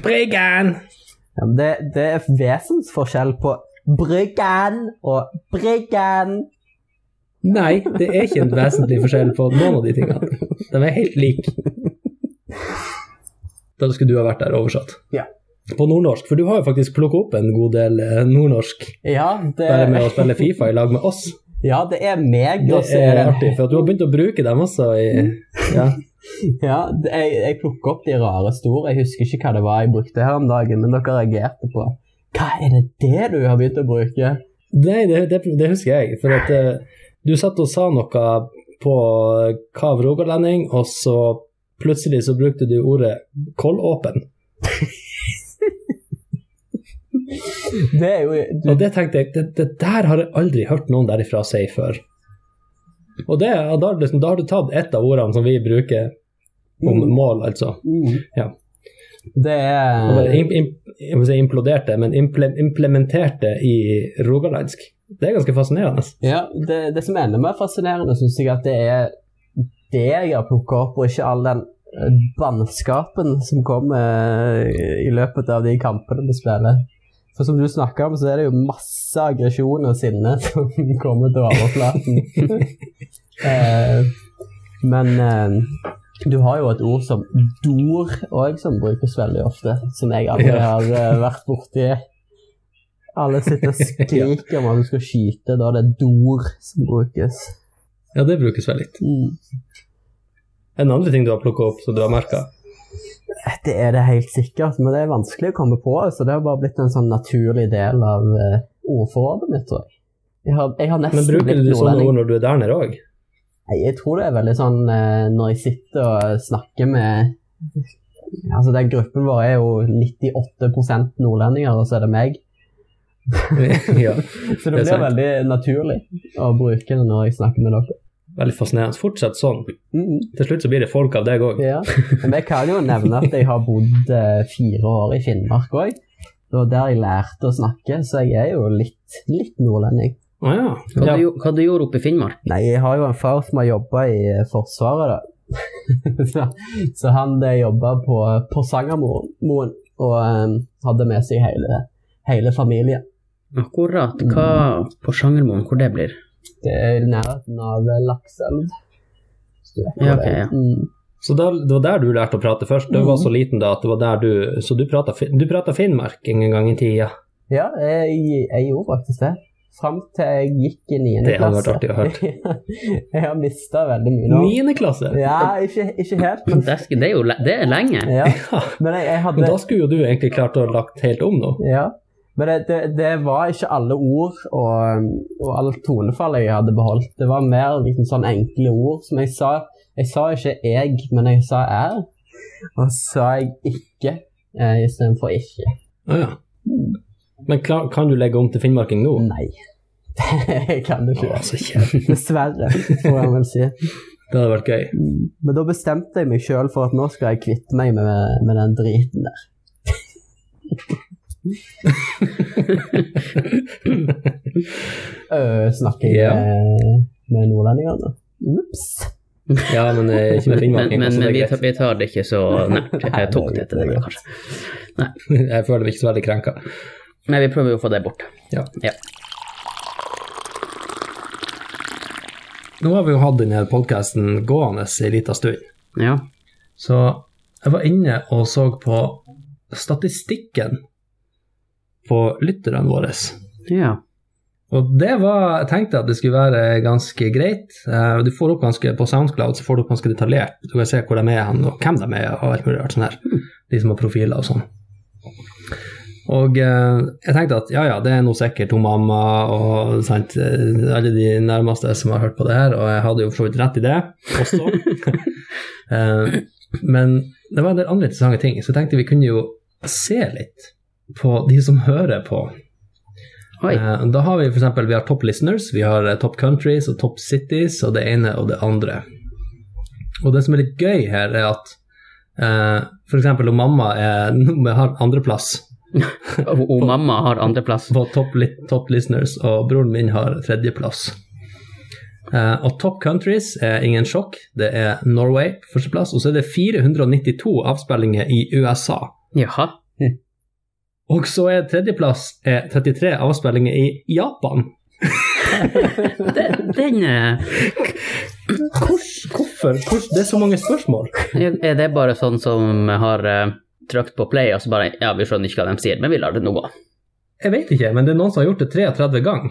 S1: Briggen!
S3: Ja, men det, det er vesensforskjell på Bryggen og Bryggen.
S1: Nei, det er ikke en vesentlig forskjell på noen av de tingene. De er helt like. Da skulle du ha vært der oversatt.
S3: Ja.
S1: På nordnorsk, for du har jo faktisk plukka opp en god del eh, nordnorsk
S3: Ja, det,
S1: bare med å spille Fifa i lag med oss.
S3: ja, det er meg,
S1: Det
S3: og så
S1: er
S3: er det
S1: artig, for at du har begynt å bruke dem også i ja.
S3: [laughs] Ja, det- jeg, jeg plukker opp de rareste ord. Jeg husker ikke hva det var jeg brukte her om dagen, men dere reagerte på Hva er det det du har begynt å bruke?
S1: Nei, det, det, det husker jeg. For at eh, Du satt og sa noe på Kav Rogalending, og så plutselig så brukte du ordet kollåpen.
S3: Det er jo du,
S1: Og det tenkte jeg, det, det der har jeg aldri hørt noen derifra si før. Og det, og da, har du liksom, da har du tatt ett av ordene som vi bruker om mål, altså. Ja.
S3: Mm. Det
S1: Og bare
S3: er
S1: im, im, jeg må si imploderte, men imple, implementerte i rogalandsk. Det er ganske fascinerende.
S3: Ja, det, det som er enda mer fascinerende, syns jeg, at det er det jeg har plukka opp, og ikke all den eh, bannskapen som kommer eh, i løpet av de kampene vi spiller. For som du snakker om, så er det jo masse aggresjon og sinne [laughs] som kommer til overflaten. eh, men eh, du har jo et ord som dor òg, som brukes veldig ofte, som jeg aldri
S1: Ja.
S3: har eh, vært borti. Alle sitter
S1: [laughs]
S3: og skriker om at du skal skyte, da er det dor som brukes.
S1: Ja, det brukes vel litt. En andre ting du har plukka opp som du har merka?
S3: Det er det helt sikkert, men det er vanskelig å komme på. Så det har bare blitt en sånn naturlig del av eh, ordforrådet mitt, tror jeg. Jeg har, jeg har nesten
S1: Men bruker
S3: blitt
S1: du sånne
S3: nordlending.
S1: ord når du er der nede òg?
S3: Nei, Jeg tror det er veldig sånn eh, når jeg sitter og snakker med Altså, den gruppen vår er jo 98 nordlendinger, og så er det meg.
S1: ja.
S3: Så
S1: Det er
S3: det blir
S1: sant.
S3: veldig naturlig å bruke det når jeg snakker med dere.
S1: Veldig fascinerende. Fortsett sånn.
S3: Mm.
S1: Til slutt så blir det folk av deg òg.
S3: Ja, men jeg kan jo nevne at jeg har bodd eh, fire år i Finnmark òg. Det var der jeg lærte å snakke, så jeg er jo litt, litt nordlending.
S1: Å Ah, ja.
S2: Hva,
S1: ja.
S2: du, gjo- hva du gjorde oppe i Finnmark?
S3: Nei, jeg har jo en far som har jobba i eh, Forsvaret, da. [laughs] så, så han jobba på Porsangermoen og eh, hadde med seg hele, hele familien.
S2: Akkurat hva på Sjangermoen, hvor det blir?
S3: Det er i nærheten av eh, Lakselv. hvis du vet hvor
S2: Ja,
S3: det er.
S2: ok, ja.
S3: Mm.
S1: Så da, det var der du lærte å prate først? Du var så liten da at det var der du Så du prata, fin- du prata finnmarking en gang i tida?
S3: Ja, jeg, jeg gjorde faktisk det. Fram til jeg gikk i 9. klasse.
S1: Det hadde vært artig å
S3: [laughs] jeg har mista veldig mye nå.
S1: Niende klasse?
S3: Ja, ikke, ikke helt, men,
S2: Dæsken, det er jo le det er lenge.
S3: ja.
S1: Ja.
S3: men jeg, jeg
S1: Men
S3: hadde
S1: da skulle jo du egentlig klart å ha lagt helt om nå.
S3: ja. Men det, det, det var ikke alle ord og, og alt tonefall jeg hadde beholdt. Det var mer liksom sånn enkle ord som jeg sa. Jeg sa ikke 'jeg', men jeg sa 'er'. Og så sa jeg 'ikke' eh, istedenfor 'ikke'.
S1: Å Ah, ja. Men klar, kan du legge om til finnmarking nå?
S3: Nei. [laughs] Det kan du ikke.
S1: Å, så kjent.
S3: Dessverre, får jeg vel si.
S1: Det hadde vært gøy.
S3: Men da bestemte jeg meg sjøl for at nå skal jeg kvitte meg med, med den driten der. Øh, snakker jeg
S1: Ja.
S3: med, med nordlendingene? Ops.
S1: Ja, men eh, ikke med
S2: Men,
S1: finnmarking.
S2: men,
S1: så det
S2: men
S1: er
S2: vi, tar,
S1: greit.
S2: vi tar det ikke så nært. Jeg tok det til det, men kanskje.
S1: [laughs] Jeg føler meg ikke så veldig krenka.
S2: Nei, vi prøver jo å få det bort.
S1: Ja.
S2: Ja.
S1: Nå har vi jo hatt denne podkasten gående en liten stund.
S2: ja.
S1: Så jeg var inne og så på statistikken på lytterne våre.
S2: Ja.
S1: Og det var, jeg tenkte at det skulle være ganske greit. Eh, Du får opp ganske, På Soundcloud så får du opp ganske detaljert. Du kan se hvor de er hen, og hvem de er, og alt mulig rart sånn her. De som har profiler og sånn. Og eh, jeg tenkte at ja, ja, det er nå sikkert hun mamma og sant, eh, alle de nærmeste som har hørt på det her, og jeg hadde jo for så vidt rett i det også. Eh, Men det var en del andre interessante ting, så jeg tenkte vi kunne jo se litt på de som hører på.
S2: Oi.
S1: Eh, Da har vi for eksempel, vi har top listeners, vi har eh, top countries og top cities og det ene og det andre. Og det som er litt gøy her, er at eh, for eksempel om mamma er, [laughs] har andreplass
S2: Og, og mamma har andreplass.
S1: på top, li, top listeners, og broren min har tredjeplass. Eh, og top countries er ingen sjokk, det er Norway på førsteplass, og så er det 492 avspillinger i USA.
S2: Jaha.
S1: Og så er tredjeplass er 33 avspillinger i Japan.
S2: Den, den eh,
S1: Hvor- hvorfor? Hvor, det er så mange spørsmål.
S2: Er det bare sånn som har eh, trykt på play, og så bare Ja, vi skjønner ikke hva de sier, men vi lar det nå gå.
S1: Jeg vet ikke, men det er noen som har gjort det 33 gang.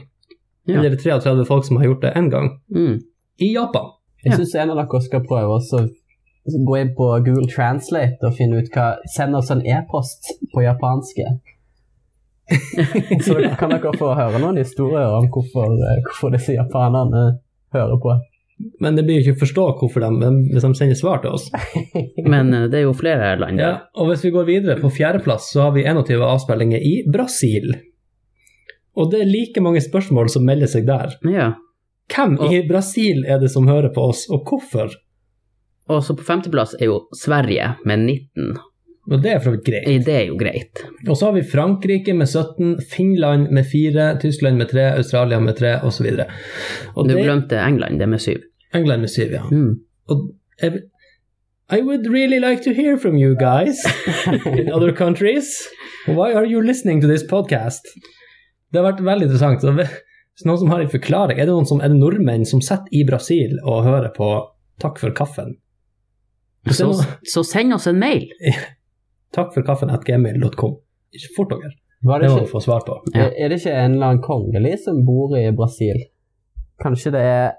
S2: Ja.
S1: Eller 33 folk som har gjort det én gang.
S2: Mm.
S1: I Japan.
S3: Jeg syns en av dere skal prøve også å gå inn på Google Translate og finne ut hva Send oss en e-post på japanske. Så da kan dere få høre noen historier om hvorfor, eh, hvorfor disse japanerne hører på.
S1: Men det blir jo ikke å forstå hvorfor de, de- hvis de sender svar til oss.
S2: Men eh, det er jo flere land der.
S1: Ja, og hvis vi går videre, på fjerdeplass så har vi 21 avspillinger i Brasil. Og det er like mange spørsmål som melder seg der.
S2: Ja.
S1: Hvem i Brasil er det som hører på oss, og hvorfor?
S2: Og så på femteplass er jo Sverige med 19.
S1: Og det er for så vidt greit.
S2: Eh, Det er jo greit.
S1: Og så har vi Frankrike med 17, Finland med 4, Tyskland med 3, Australia med 3, osv. Og
S2: Du
S1: det er
S2: glemte England, det med syv.
S1: England med 7, ja.
S2: Mm.
S1: Og jeg, I would really like to hear from you guys in other countries. Why are you listening to this podcast? Det har vært veldig interessant. Så ve- Hvis noen som har en forklaring, er det, noen som, er det nordmenn som sitter i Brasil og hører på Takk for kaffen? Hvis det er
S2: Så,
S1: noen-
S2: så send oss en mail.
S1: Takk for kaffen at gmail.com. Ikke fort dere.
S3: Var
S1: Det
S3: det
S1: må vi
S3: ikke,
S1: få svar på.
S2: Ja.
S3: Er det ikke en eller annen kongelig som bor i Brasil? Kanskje det er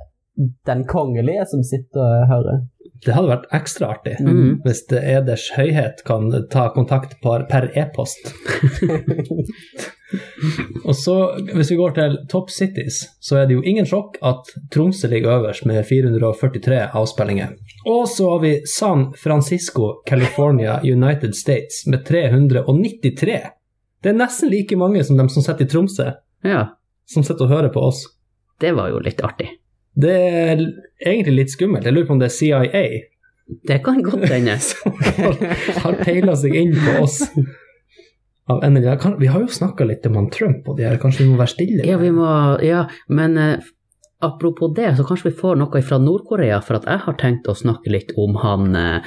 S3: den kongelige som sitter og hører?
S1: Det hadde vært ekstra artig
S2: Mm.
S1: hvis det Eders høyhet kan ta kontakt par, per e-post. Og så, hvis vi går til Top Cities, så er det jo ingen sjokk at Tromsø ligger øverst med 443 avspillinger. Og så har vi San Francisco, California, United States med 393. Det er nesten like mange som dem som sitter i Tromsø,
S2: Ja,
S1: som sitter og hører på oss.
S2: det var jo litt artig.
S1: Det er l- egentlig litt skummelt. Jeg lurer på om det er CIA
S2: Det kan godt
S1: [laughs]
S2: hende.
S1: har peila seg inn på oss. Av en eller annen- kan- Vi har jo snakka litt om han Trump og de her, kanskje vi må være stille?
S2: Ja, vi må Ja, men eh, apropos det, så kanskje vi får noe fra Nord-Korea, for at jeg har tenkt å snakke litt om han eh,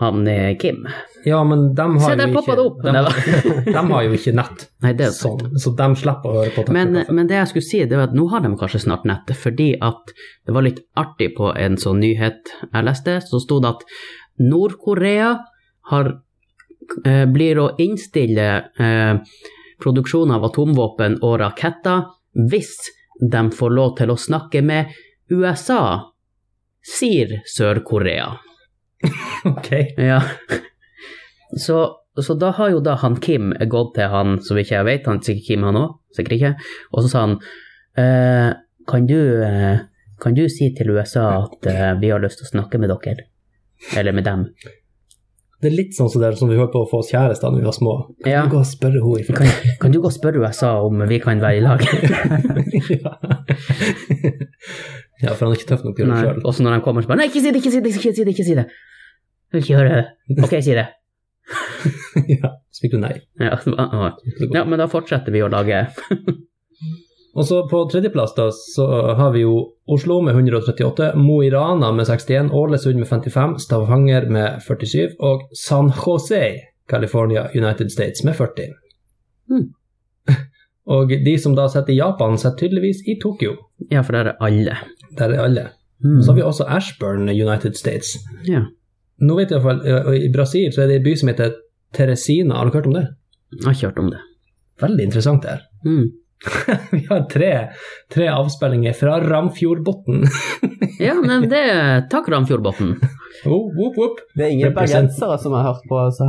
S2: han eh, Kim.
S1: Ja, men de har
S2: Se, der
S1: jo
S2: poppa
S1: ikke
S2: det opp!
S1: dem-
S2: Neida.
S1: [laughs] De har jo ikke nett,
S2: Nei, det er jo sant.
S1: sånn, så de slipper å høre på Takk for
S2: Men, eh,
S1: kaffe.
S2: men det jeg skulle si, det var at nå har de kanskje snart nettet, fordi at det var litt artig på en sånn nyhet jeg leste, så sto det at Nord-Korea har, eh, blir å innstille eh, produksjon av atomvåpen og raketter hvis de får lov til å snakke med USA, sier Sør-Korea.
S1: [laughs] Ok.
S2: Ja. Så, så da har jo da han Kim gått til han som ikke jeg vet, han sikkert Kim han òg, sikkert ikke, og så sa han eh, kan, du, eh, kan du si til USA at eh, vi har lyst til å snakke med dere? Eller med dem.
S1: Det er litt sånn som det er som vi holdt på å få oss kjærester da vi var små. Kan
S2: Ja.
S1: vi gå og spørre henne i [laughs]
S2: Kan, kan du gå og spørre USA om vi kan være i lag?
S1: ja. ja, for han er ikke tøff nok til å
S2: Nei.
S1: gjøre det sjøl.
S2: Og så når de kommer, så bare Nei, ikke si det, ikke si det, ikke si det! ikke si det. Jeg vil ikke høre det. Ok, si det.
S1: [laughs] [laughs] ja. Så fikk du nei.
S2: Ja, så bare, «Åh». ja, men da fortsetter vi å lage
S1: Og så på tredjeplass da, så har vi jo Oslo med 138, Mo i Rana med 61, Ålesund med 55, Stavanger med 47 og San Jose, California, United States med 40.
S2: Hmm.
S1: [laughs] og de som da sitter i Japan, sitter tydeligvis i Tokyo.
S2: Ja, for der er alle.
S1: Der er alle.
S2: Mm.
S1: Så har vi også Ashburn, United States.
S2: Ja.
S1: Nå vet jeg i hvert fall, og I Brasil så er det en by som heter Teresina. Har dere hørt om det?
S2: Jeg har ikke hørt om det.
S1: Veldig interessant det her.
S2: Mm.
S1: [laughs] vi har tre, tre avspillinger fra Ramfjordbotn. [laughs]
S2: Ja, men det Takk, Ramfjordbotn.
S1: Oh, whoop, whoop.
S3: Det er ingen
S1: Represent.
S3: bergensere som har hørt på, altså.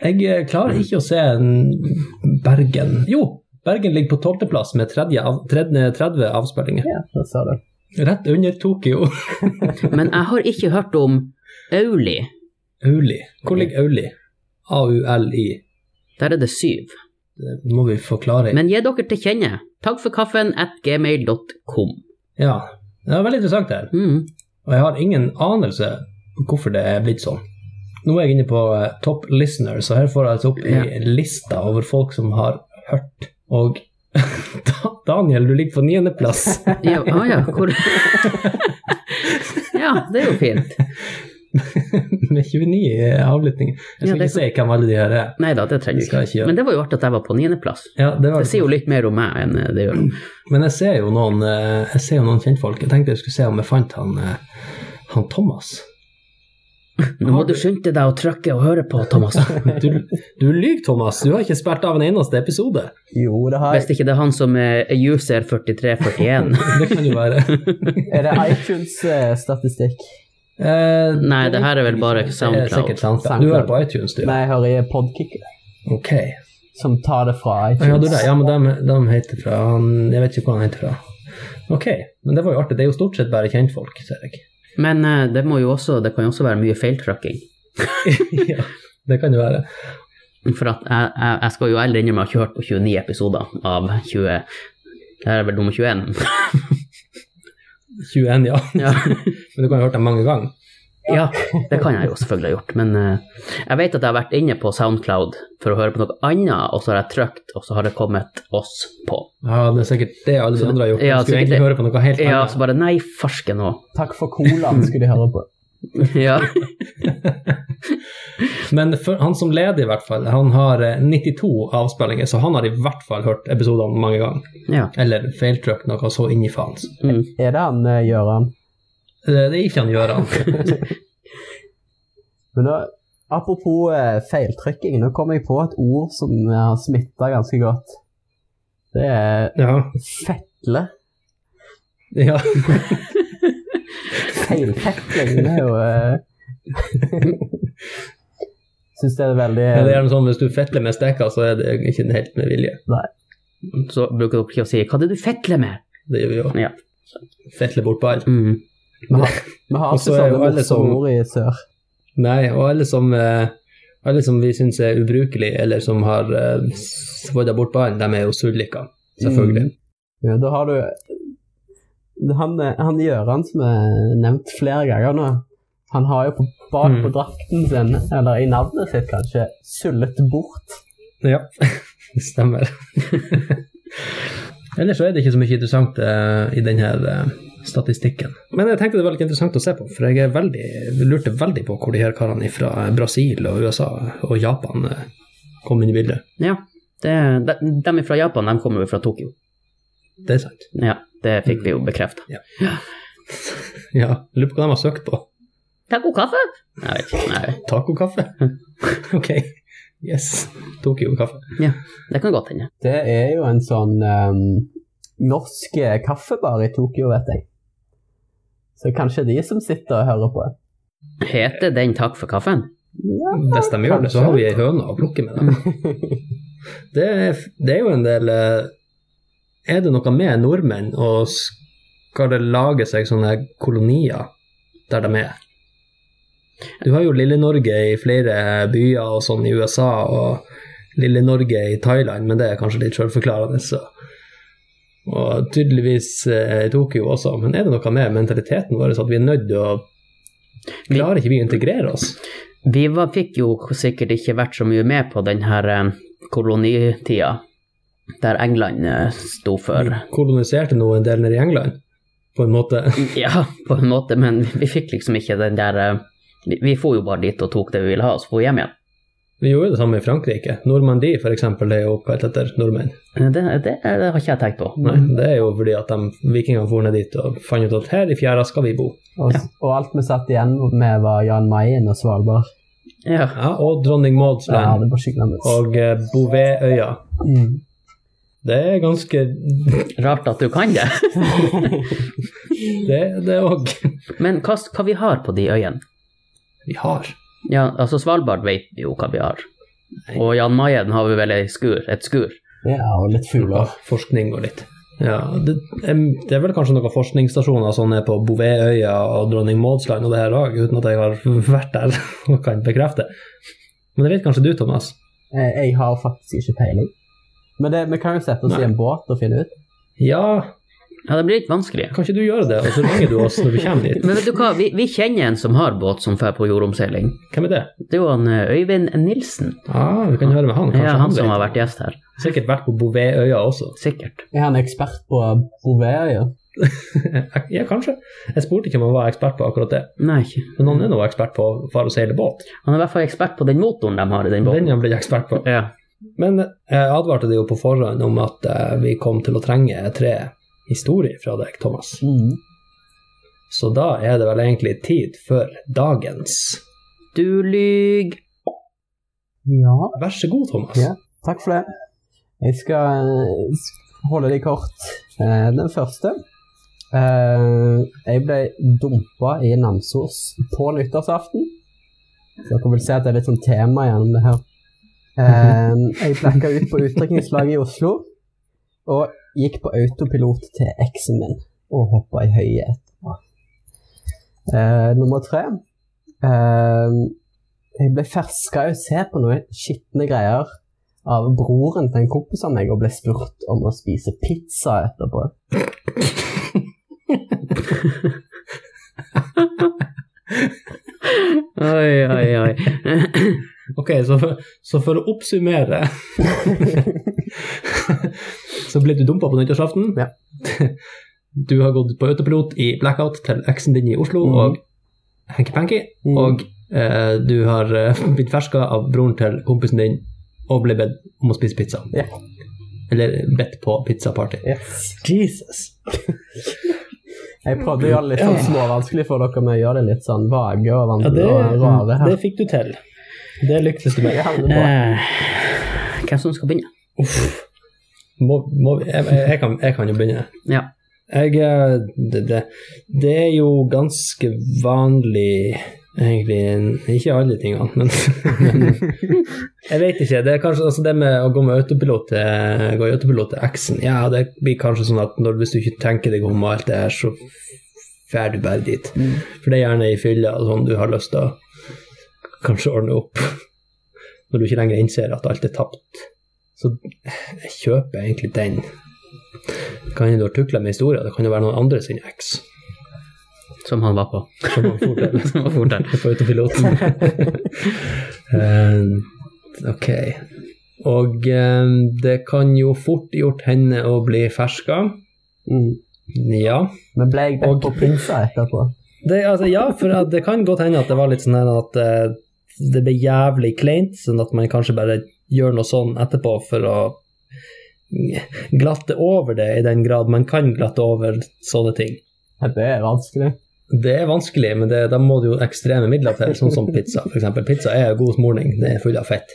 S1: Jeg eh, klarer
S2: Mm.
S1: ikke å se en Bergen Jo, Bergen ligger på tolvteplass med 30, av, 30, 30 avspillinger.
S3: Ja, da sa du.
S1: Rett under Tokyo. [laughs]
S2: Men jeg har ikke hørt om Auli.
S1: Auli. Hvor ligger Auli? A-u-l-i.
S2: Der er det syv.
S1: Det må vi forklare.
S2: Men gi dere til kjenne. Takk for kaffen at gmail.com.
S1: Ja. Det var veldig interessant det her.
S2: Mm.
S1: Og jeg har ingen anelse hvorfor det er blitt sånn. Nå er jeg inne på eh, top listeners, og her får jeg altså opp
S2: Ja.
S1: i lista over folk som har hørt. Og [laughs] Da- Daniel, du ligger på niendeplass.
S2: Ja, ah, ja, hvor [laughs] Ja, det er jo fint.
S1: [laughs] med 29 avlyttinger. Jeg skal
S2: Ja, det-
S1: ikke si hvem alle de her er.
S2: Nei da, det trenger
S1: Det
S2: du
S1: skal
S2: ikke.
S1: jeg ikke gjøre.
S2: Men det var jo artig at jeg var på niendeplass.
S1: Ja, det var,
S2: Det sier jo litt mer om meg enn eh, det gjør.
S1: men jeg ser jo noen, eh, jeg ser jo noen kjentfolk. Jeg tenkte jeg skulle se om jeg fant han, eh, han
S2: [laughs]
S1: Thomas.
S2: Nå må du skynde deg å trykke og høre på, Thomas.
S1: Du, du lyver, Thomas. Du har ikke spilt av en eneste episode.
S3: Jo, det har
S2: Hvis ikke det er han som er user 4341.
S1: Det kan jo være.
S2: [laughs]
S3: Er det iTunes-statistikk?
S1: Eh,
S2: Nei, det her er vel bare
S1: Det er sikkert
S2: SoundCloud.
S1: SoundCloud. Du hører på iTunes, du.
S3: Nei, jeg hører i Podkick,
S1: Ok.
S3: som tar det fra
S1: Ja, du,
S3: iTunes.
S1: det. ja men de, de heter fra han, Jeg vet ikke hvor han heter fra. Ok, men det var jo artig. Det er jo stort sett bare kjentfolk, ser jeg. [laughs]
S2: Men eh, det, må jo også, det kan jo også være mye feiltracking.
S1: ja, det kan det være.
S2: For at jeg, jeg, jeg skal jo ærlig innrømme at jeg har hørt på 29 episoder av 20 Det her er vel nummer [laughs] 21.
S1: 21, ja.
S2: ja.
S1: Men du kan jo ha hørt dem mange ganger.
S2: ja, det kan jeg jo selvfølgelig ha gjort. Men eh, jeg vet at jeg har vært inne på Soundcloud for å høre på noe annet, og så har jeg trykt, og så har det kommet oss på.
S1: Ja, det er sikkert det alle de andre har gjort.
S2: Ja,
S1: du skulle
S2: sikkert
S1: egentlig
S2: det.
S1: høre på noe helt
S2: Ja,
S1: annet.
S2: så bare nei, farsken òg.
S3: Takk for colaen, skulle de høre på.
S2: [laughs] Ja.
S1: Men for, han som leder, i hvert fall, han har eh, 92 avspillinger, så han har i hvert fall hørt episodene mange ganger.
S2: ja.
S1: Eller feiltrykt noe så inni faens. Eh,
S2: Mm.
S3: Er det han eh, Gøran?
S1: Det, det er ikke han Gøran.
S2: [laughs]
S3: Men da, apropos eh, feiltrykking, nå kom jeg på et ord som eh, har smitta ganske godt. Det er
S1: Ja.
S3: fetle.
S1: ja.
S3: Feilfetling det er jo [laughs] uh, Syns det er veldig
S1: Men Det er noe sånn, Hvis du fetler med steker, så er det ikke helt med vilje.
S2: Så bruker dere ikke å si 'hva er det du fetler med'?
S1: Det gjør vi jo.
S2: Ja.
S1: Fetler bort på alt.
S2: Mm.
S3: Vi har, vi har
S1: Og
S3: ikke
S1: så er jo
S3: sånne
S1: alle som-
S3: morsomme ord i sør.
S1: Nei, og alle som, eh, alle som vi syns er ubrukelige, eller som har eh, svodda bort ballen, de er jo sullika, selvfølgelig.
S2: Mm.
S3: Ja, da har du han, han Gjøran som er nevnt flere ganger nå, han har jo på bak på
S1: Mm.
S3: drakten sin, eller i navnet sitt kanskje, sullet bort.
S1: Ja, [laughs] det stemmer. [laughs] Ellers så er det ikke så mye interessant eh, i denne eh, statistikken. Men jeg tenkte det var litt interessant å se på, for jeg er veldig, lurte veldig på hvor de her karene fra Brasil og USA og Japan eh, kom inn i bildet.
S2: Ja. Det, de, de fra Japan de kommer jo fra Tokyo.
S1: Det er sant.
S2: Ja, Det fikk vi jo bekrefta.
S1: Ja, jeg lurer på hva de har søkt på.
S2: Taco kaffe? Jeg vet ikke. Nei,
S1: Tacokaffe? [laughs] ok, yes. Tokyo-kaffe.
S2: det kan godt hende.
S3: Det er jo en sånn ehm, norsk kaffebar i Tokyo, vet jeg. Så kanskje de som sitter og hører på.
S2: Heter den takk for kaffen?
S3: Ja.
S1: Hvis de gjør det, så har vi ei høne å plukke med dem.
S3: [laughs]
S1: Det er, det er jo en del eh, Er det noe med nordmenn, og skal det lage seg sånne kolonier der de er? Du har jo Lille-Norge i flere byer og sånn i USA, og Lille-Norge i Thailand, men det er kanskje litt sjølforklarende. så- Og tydeligvis eh, i Tokyo også, men er det noe med mentaliteten vår at vi er nødt til å Klarer ikke vi å integrere oss?
S2: Vi var, fikk jo sikkert ikke vært så mye med på den her eh, kolonitida der England eh, sto for.
S1: Vi koloniserte nå en del nede i England, på en måte.
S2: Ja, på en måte, men vi fikk liksom ikke den der eh, Vi, vi for jo bare dit og tok det vi ville ha, og så for vi hjem igjen.
S1: Vi gjorde det samme i Frankrike. Normandie, for eksempel, er jo oppkalt etter nordmenn.
S2: Eh, Det, det, det har ikke jeg tenkt på.
S1: Nei, det er jo fordi at de vikingene for ned dit og fant ut at her i fjæra skal vi bo.
S3: Og, og alt vi satt igjen med, var Jan Mayen og Svalbard.
S2: Ja.
S1: Ja, og Dronning Mauds
S3: Ja,
S1: land
S3: det var skikkelig annerledes.
S1: og eh, Bouvetøya.
S3: Mm.
S1: Det er ganske
S2: Rart at du kan det. [laughs]
S1: Det det òg.
S2: Men hva, hva vi har på de øyene?
S1: Vi har.
S2: Ja, altså Svalbard vet vi jo hva vi har. Og Jan Mayen har vi vel ei skur, et skur.
S3: Ja, og litt
S1: Ja,
S3: fugler.
S1: forskning og litt. Ja, det, em, det er vel kanskje noen forskningsstasjoner sånn er på Bouvetøya og Dronning Mauds land og det her òg, uten at jeg har vært der [laughs] og kan bekrefte. Men det vet kanskje du, Thomas?
S3: Eh, Jeg har faktisk ikke peiling. Men det, vi kan jo sette oss
S1: Nei.
S3: i en båt og finne ut.
S1: Ja,
S2: Ja, det blir litt vanskelig.
S1: kan ikke du gjøre det? Og så ringer du oss når vi kommer dit.
S2: Men vet du hva, vi, vi kjenner en som har båt som drar på jordomseiling.
S1: Hvem er det?
S2: Det er jo han eh, Øyvind Nilsen.
S1: Ah, vi kan høre med han. Kanskje
S2: Ja, han som
S1: vet.
S2: har vært gjest her.
S1: Sikkert vært på Bouvetøya også. [laughs]
S2: Sikkert.
S3: Er han ekspert på Bouvetøya?
S1: ja, kanskje. Jeg spurte ikke om han var ekspert på akkurat det,
S2: Nei, ikke.
S1: men han er nå ekspert på far å seile båt.
S2: han er i hvert fall ekspert på den motoren de har i den
S1: Den
S2: båten.
S1: er han blitt ekspert på.
S2: Ja.
S1: Men eh, jeg advarte deg jo på forhånd om at eh, vi kom til å trenge tre historier fra deg, Thomas.
S3: Mm.
S1: Så da er det vel egentlig tid for dagens.
S2: Du lyg.
S3: Ja.
S1: Vær så god, Thomas.
S3: Ja. Takk for det. Jeg skal eh, s- holde de kort. Eh, Den første eh, Jeg ble dumpa i Namsos på nyttårsaften. Så dere vil se at det er litt sånn tema gjennom det her. Eh, Jeg blacka ut på utdrikningslaget i Oslo og gikk på autopilot til eksen min. og hoppa i høye etterpå. Eh, nummer tre eh, Jeg ble ferska i å se på noen skitne greier av broren til en kompis av meg og ble spurt om å spise pizza etterpå.
S2: Oi, oi,
S1: [laughs]
S2: oi.
S1: Ok, så for, så for å
S3: [laughs]
S1: oppsummere Så ble du dumpa på nyttårsaften.
S3: Ja.
S1: [laughs] Du har gått på autopilot i blackout til eksen din i Oslo
S3: Mhm.
S1: og Henki Penki.
S3: Mhm.
S1: Og eh, du har eh, [laughs] blitt ferska av broren til kompisen din og ble bedt om å spise pizza.
S3: Ja.
S1: Eller bedt på pizzaparty.
S3: Yes.
S1: Jesus.
S3: Jeg prøvde å gjøre det litt sånn småvanskelig for dere med å gjøre det litt sånn vage og
S1: Ja,
S3: vanlige
S1: det,
S3: og rare her.
S1: det fikk du til. Det lyktes du med.
S3: Ja, det er bra.
S2: Eh, hvem som skal begynne?
S1: Uff. Må, må, jeg, jeg, jeg kan, jeg kan jo begynne.
S2: Ja.
S1: Jeg, eh, det, det, det er jo ganske vanlig, egentlig, ikke alle tingene, men, [laughs] men jeg vet ikke. Det er kanskje altså det med å gå med autopilot til, gå i autopilot til eksen. Ja, det blir kanskje sånn at når, hvis du ikke tenker deg om og alt det her, så drar du bare dit. For det er gjerne i fylla og sånn du har lyst til å kanskje ordne opp. [laughs] Når du ikke lenger innser at alt er tapt. Så jeg kjøper egentlig den. Det kan hende du har tukla med historier, det kan jo være noen andre sin eks.
S2: Som han var på.
S1: Som man får til
S2: [laughs] Som var fort der.
S1: [laughs] på autopiloten.
S2: [laughs]
S1: Eh, ok. Og eh, det kan jo fort gjort hende å bli ferska.
S3: Mm.
S1: Ja.
S3: Men ble jeg bedt
S1: Og-
S3: på pizza etterpå?
S1: Det, altså, ja, for at det kan godt hende at det var litt sånn her at eh, det ble jævlig kleint, sånn at man kanskje bare gjør noe sånn etterpå for å glatte over det, i den grad man kan glatte over sånne ting.
S3: Det er vanskelig.
S1: Det er vanskelig, men det, da må det jo ekstreme midler til, sånn som pizza. For eksempel. pizza er god smorning, det er full av
S3: [laughs]
S1: fett.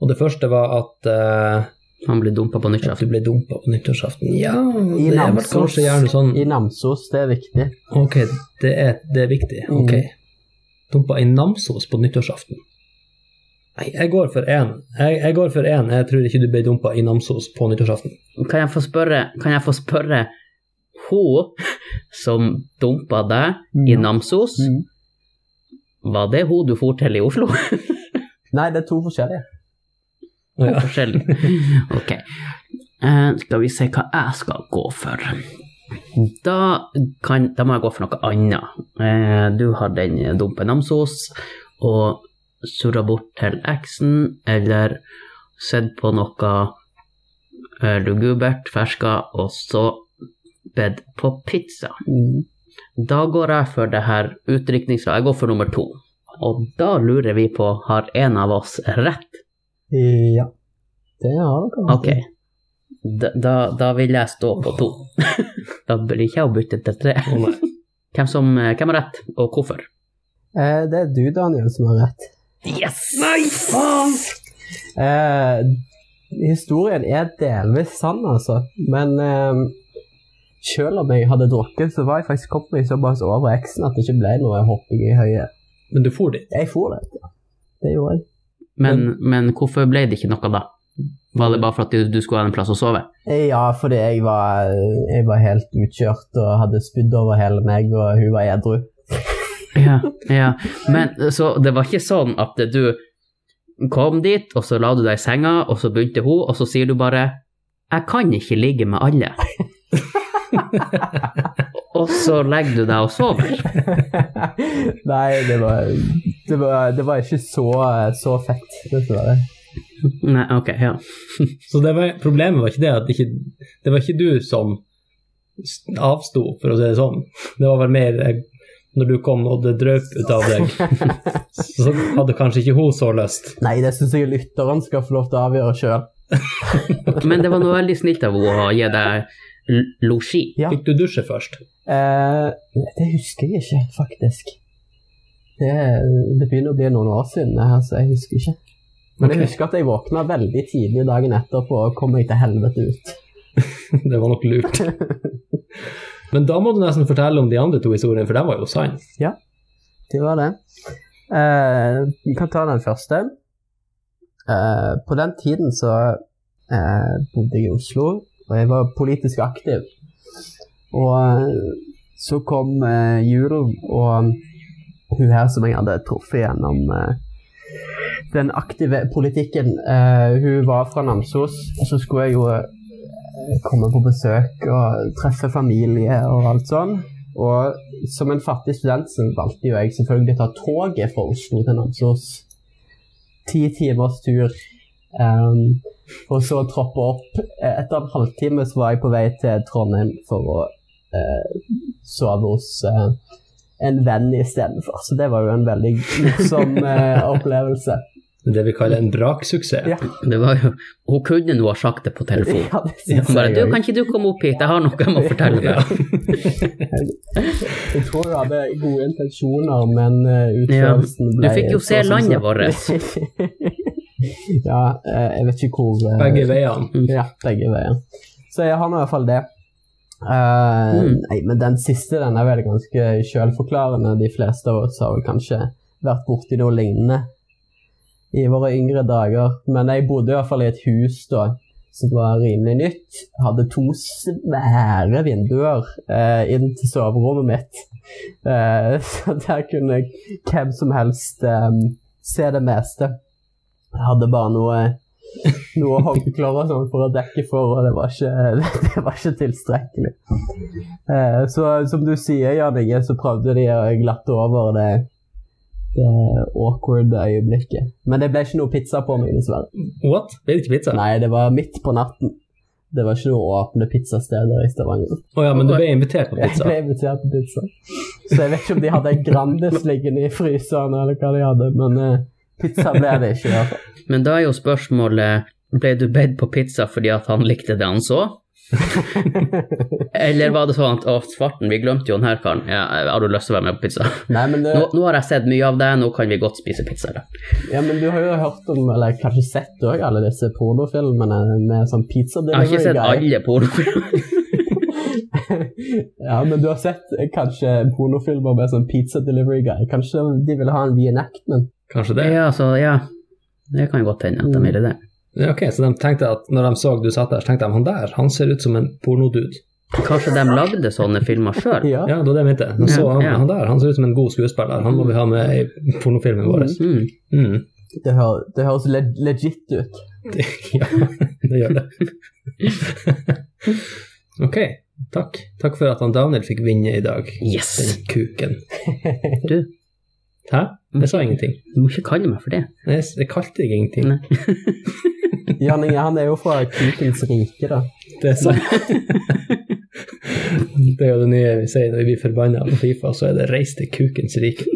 S1: Og det første var at eh,
S2: Han ble dumpa på
S1: at du
S2: nyttårsaften.
S1: ble dumpa på nyttårsaften. Ja,
S3: I
S1: det var
S3: Namsos.
S1: kanskje gjerne sånn
S3: I Namsos, det er viktig.
S1: Ok, det er, det er viktig.
S3: Mm.
S1: Ok. Dumpa i Namsos på nyttårsaften. Nei, jeg går for én. Jeg, jeg går for én. Jeg tror ikke du ble dumpa i Namsos på nyttårsaften.
S2: Kan jeg få spørre, kan jeg få spørre hun som dumpa deg i
S3: Mm.
S2: Namsos,
S3: Mm.
S2: var det hun du for til i Oslo?
S3: Nei, det er to forskjellige.
S1: Ja.
S2: Forskjellen. [laughs] Ok. Eh, skal vi se hva jeg skal gå for. Da, kan, da må jeg gå for noe annet. Eh, du har den dumpe Namsos og surra bort til eksen, eller sett på noe eh, lugubert, ferska, og så bedt på pizza.
S3: Mm.
S2: Da går jeg for det her utdrikningslaget. Jeg går for nummer to. Og da lurer vi på, har en av oss rett?
S3: Ja. Det har dere.
S2: Ok.
S1: Mm.
S2: Da, da, da vil jeg stå på
S1: [laughs]
S2: to. da blir ikke jeg å bytte til tre.
S1: Å, nei.
S2: Hvem, som, hvem har rett, og hvorfor?
S3: Eh, det er du, Daniel, som har rett.
S2: Yes!
S3: Eh, historien er delvis sann, altså. Men eh, selv om jeg hadde drukket, så var jeg faktisk kommet meg såpass over eksen at det ikke ble noe hopping i høyet.
S1: Men du for dit.
S3: Jeg for det. Ja. Det gjorde jeg.
S2: Men, men hvorfor ble det ikke noe da? Var det bare for at du, du skulle ha en plass å sove?
S3: Eh, Ja, fordi jeg var, jeg var helt utkjørt og hadde spydd over hele meg, og hun var edru. [laughs]
S2: Ja, ja. Men så det var ikke sånn at du kom dit, og så la du deg i senga, og så begynte hun, og så sier du bare 'Jeg kan ikke ligge med
S1: [laughs]
S2: alle'. og så legger du deg og sover.
S3: Nei, det var, det var, det var ikke så, så fett, dessverre.
S2: Nei, ok, ja.
S1: Så det var, problemet var ikke det at ikke, det var ikke du som s- avsto, for å si det sånn. Det var vel mer eh, når du kom og det drøp ut av deg,
S3: [laughs]
S1: så hadde kanskje ikke hun så lyst.
S3: Nei, det syns jeg lytteren skal få lov til å avgjøre sjøl.
S2: Men det var noe veldig snilt av henne å gi deg l- losji.
S3: Ja.
S1: Fikk du dusje først?
S3: Eh, det husker jeg ikke, faktisk. Det, det begynner å bli noen år siden, det her, så jeg husker ikke. Men
S1: Ok.
S3: jeg husker at jeg våkna veldig tidlig dagen etterpå og kom meg til helvete ut.
S1: Det var nok lurt. Men da må du nesten fortelle om de andre to historiene, for de var jo sann.
S3: Det var det. Eh, vi kan ta den første. Eh, på den tiden så eh, bodde jeg i Oslo, og jeg var politisk aktiv. Og eh, så kom eh, julen, og hun her som jeg hadde truffet gjennom eh, den aktive politikken eh, Hun var fra Namsos, og så skulle jeg jo eh, komme på besøk og treffe familie og alt sånn. Og som en fattig student så valgte jo jeg selvfølgelig å ta toget fra Oslo til Namsos. Ti timers tur. Ehm, og så troppe opp. Eh, Etter en halvtime så var jeg på vei til Trondheim for å eh, sove hos eh, en venn istedenfor. Så det var jo en veldig
S2: [laughs]
S3: morsom eh, opplevelse.
S1: Det vi kaller en braksuksess.
S3: Ja.
S2: Det var jo, hun kunne nå ha sagt det på telefon.
S3: Ja, det
S1: Ja,
S3: synes
S2: Hun bare
S3: jeg.
S2: du, 'Kan ikke du komme opp hit, jeg har noe jeg må fortelle deg'.
S3: Jeg tror hun hadde gode intensjoner, men eh,
S2: Ja,
S3: utførelsen
S2: du
S3: ble
S2: fikk jo
S3: så
S2: se
S3: som
S2: landet
S3: så. [laughs] ja, eh, jeg vet ikke hvor eh,
S1: Begge veiene.
S3: Ja, begge veier. Så jeg har nå i hvert fall det. Eh,
S2: Mm.
S3: Nei, men den siste den er vel ganske selvforklarende. De fleste av oss har vel kanskje vært borti noe lignende i våre yngre dager. Men jeg bodde i hvert fall i et hus da, som var rimelig nytt. Hadde to svære vinduer eh, inn til soverommet mitt. Eh, [laughs] så der kunne hvem som helst eh, se det meste. Jeg hadde bare noe noe håndklær og sånn for å dekke for, og det var ikke, [laughs] det var ikke tilstrekkelig. Eh, så som du sier, Jan Inge, så prøvde de å glatte over det, det awkward øyeblikket. Men det ble ikke noe pizza på meg, dessverre.
S1: What? Det er ikke pizza? Å
S3: Nei, det var midt på natten. Det var ikke noe åpne pizzasteder i Stavanger.
S1: ja, men du ble invitert på
S3: Jeg
S1: pizza.
S3: ble invitert på pizza. Så jeg vet ikke om de hadde en Grandis liggende i fryseren, eller hva de hadde, men eh, pizza ble det ikke. i hvert fall.
S2: Men da er jo spørsmålet ble du bedt på pizza fordi at han likte det han så? Eller var det sånn at å, svarten, vi glemte jo den her karen, ja, har du lyst til å være med på pizza?
S3: Nei, men eh, det...
S2: Nå, nå har jeg sett mye av deg, nå kan vi godt spise pizza. Da.
S3: Ja, men du har jo hørt om, eller kanskje sett òg, alle disse pornofilmene med sånn pizza
S2: Jeg har ikke sett
S3: guy. [laughs]
S2: alle pornofilmer.
S3: ja, men du har sett eh, kanskje pornofilmer med sånn pizza delivery guy. Kanskje de vil ha en reenactment?
S1: Kanskje det?
S2: Ja, så ja, det kan jo godt hende at de ville det.
S1: Ja, ok, så de tenkte at når de så du satt der, så tenkte de han der, han ser ut som en pornodude.
S2: Kanskje de lagde sånne filmer sjøl?
S3: Ja.
S1: Ja, det var det jeg mente. De så
S2: Ja,
S1: han,
S2: ja.
S1: han der, han ser ut som en god skuespiller. Han må vi ha med i pornofilmen vår.
S2: Mm.
S1: Mm.
S3: Det, hø- det høres le legit ut.
S1: Ja, [laughs] det gjør det. [laughs] Ok, takk. Takk for at han Daniel fikk vinne i dag.
S2: Yes!
S1: Den kuken.
S2: [laughs] Du,
S1: Hæ? Jeg sa ingenting.
S2: du må ikke kalle meg for det.
S1: Jeg, jeg kalte deg ingenting.
S2: Nei.
S3: Jan Inge han er jo fra Kukens rike, da.
S1: Det er sant. [laughs] det er jo det nye vi sier når vi blir forbanna på Fifa, så er det 'reis til kukens rike'.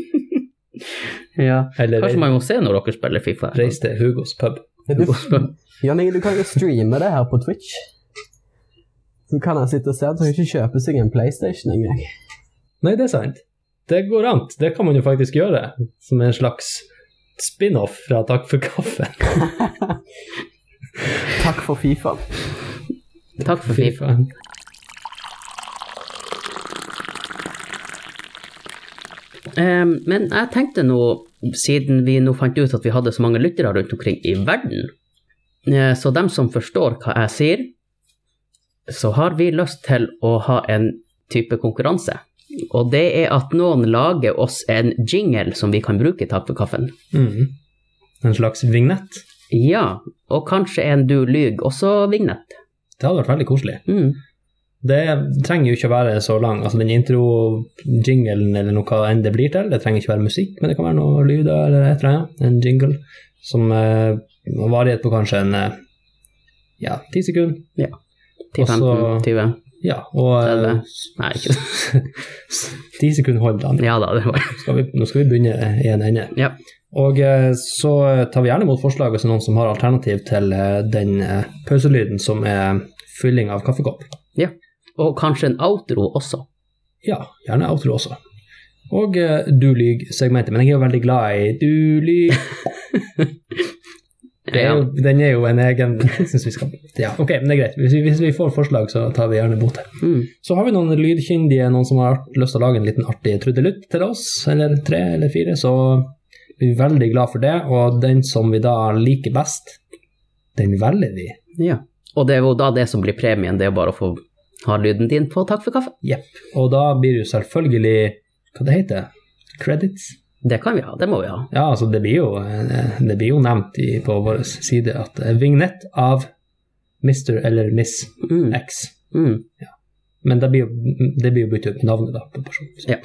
S2: Ja.
S1: Eller
S2: Kanskje man må se når dere spiller Fifa.
S1: 'reis til Hugos pub'.
S3: Men du, Jan Inge, du kan jo streame det her på Twitch. Så kan han sitte og se at han ikke kjøper seg en PlayStation engang.
S1: Nei, det er sant. Det går an. Det kan man jo faktisk gjøre, som en slags spin-off fra Takk for kaffe.
S3: Takk for Fifa.
S2: [laughs] Takk for Fifa. Eh, men jeg tenkte nå, siden vi nå fant ut at vi hadde så mange lyttere rundt omkring i verden, eh, så dem som forstår hva jeg sier, så har vi lyst til å ha en type konkurranse. Og det er at noen lager oss en jingle som vi kan bruke i Takk for kaffen.
S1: Mm. En slags vignett.
S2: Ja, og kanskje en du lyg også vignett.
S1: Det hadde vært veldig koselig.
S2: Mm.
S1: Det trenger jo ikke å være så lang. Altså Den intro-jinglen eller noe enn det blir til, det trenger ikke være musikk, men det kan være noe lyder eller et eller annet. En jingle som eh, har varighet på kanskje en eh, ja, ti sekunder.
S2: 10-15,
S1: Også-
S2: 20.
S1: Ja, og eh,
S2: Elleve. Nei, ikke
S1: [laughs] Ti sekunder hold, Daniel.
S2: Ja da, det var
S1: Nå skal vi, nå skal vi begynne eh, i en ende.
S2: Ja.
S1: Og eh, så tar vi gjerne imot forslag hvis det er noen som har alternativ til eh, den eh, pauselyden som er fylling av kaffekopp.
S2: Og kanskje en outro også.
S1: Ja, gjerne outro også. Og eh, du lyg-segmentet, men jeg er jo veldig glad i du lyg. Det er jo- Den er jo en egen [laughs] jeg synes vi skal, ja, Ok, men det er greit. Hvis vi, hvis vi får forslag, så tar vi gjerne imot det.
S2: Mm.
S1: Så har vi noen lydkyndige, noen som har lyst til å lage en liten artig trudelutt til oss, eller tre eller fire, så blir vi veldig glad for det. Og den som vi da liker best, den velger vi.
S2: Ja. Og det er jo da det som blir premien, det er jo bare å få har lyden din på Takk for kaffe.
S1: Og da blir det jo selvfølgelig Hva det heter Credits?
S2: Det kan vi ha, det må vi ha.
S1: Ja, altså det blir jo, eh, det blir jo nevnt i, på vår side at eh, vignett av Mr. eller Miss
S2: Mm,
S1: X.
S2: mm.
S1: Men det blir jo, det blir jo byttet ut med navnet da, på personen.
S2: Ja,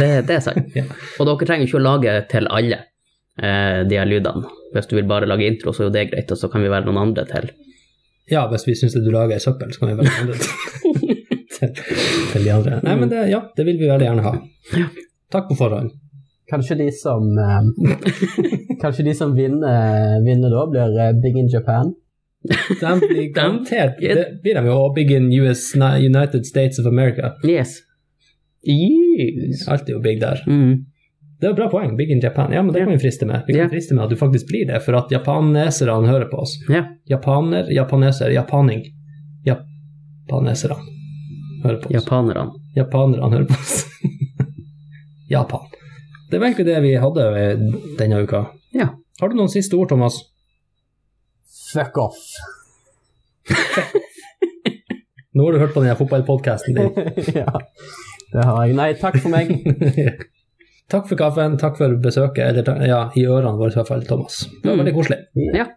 S2: det, det er sant.
S1: [laughs] Ja.
S2: Og dere trenger ikke å lage til alle eh, de her lydene. Hvis du vil bare lage intro, så er jo det greit, og så kan vi være noen andre til.
S1: Ja, hvis vi syns du lager ei søppel, så kan vi velge andre [laughs] til, til, til de andre. Nei, men det, ja, det vil vi veldig gjerne ha. Takk på forhånd.
S3: Kanskje de som eh, [laughs] Kanskje de som vinner, vinner da, blir eh, Big in Japan.
S1: De [laughs] blir garantert Det blir de jo. Og Big in US, nei, United States of America.
S2: Yes. Yes.
S1: Alt er jo big der.
S2: Mm.
S1: Det er et bra poeng. Big in Japan. Ja, men det kan vi friste med. Vi kan
S2: Ja.
S1: friste med at du faktisk blir det, for at japaneserne hører på oss.
S2: Ja.
S1: Japaner, japaneser, japaning. Japaneserne hører på oss.
S2: Japanerne.
S1: Japanerne hører på oss. [laughs] Japan. Det var egentlig det vi hadde eh, denne uka.
S2: Ja.
S1: Har du noen siste ord, Thomas?
S3: Fuck off.
S1: Nå har du hørt på denne fotballpodkasten din.
S3: [laughs]
S1: [laughs]
S3: ja, det har jeg. Nei, takk for meg.
S1: Takk for kaffen, takk for besøket, eller ta- ja, i ørene våre i hvert fall, Thomas. Det var
S2: Mm.
S1: veldig koselig.
S2: Ja,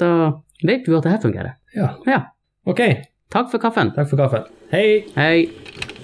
S2: da vet du at det her fungerer.
S1: Ja.
S2: Ja.
S1: Ok,
S2: Takk for kaffen.
S1: takk for kaffen. Hei!
S2: Hei.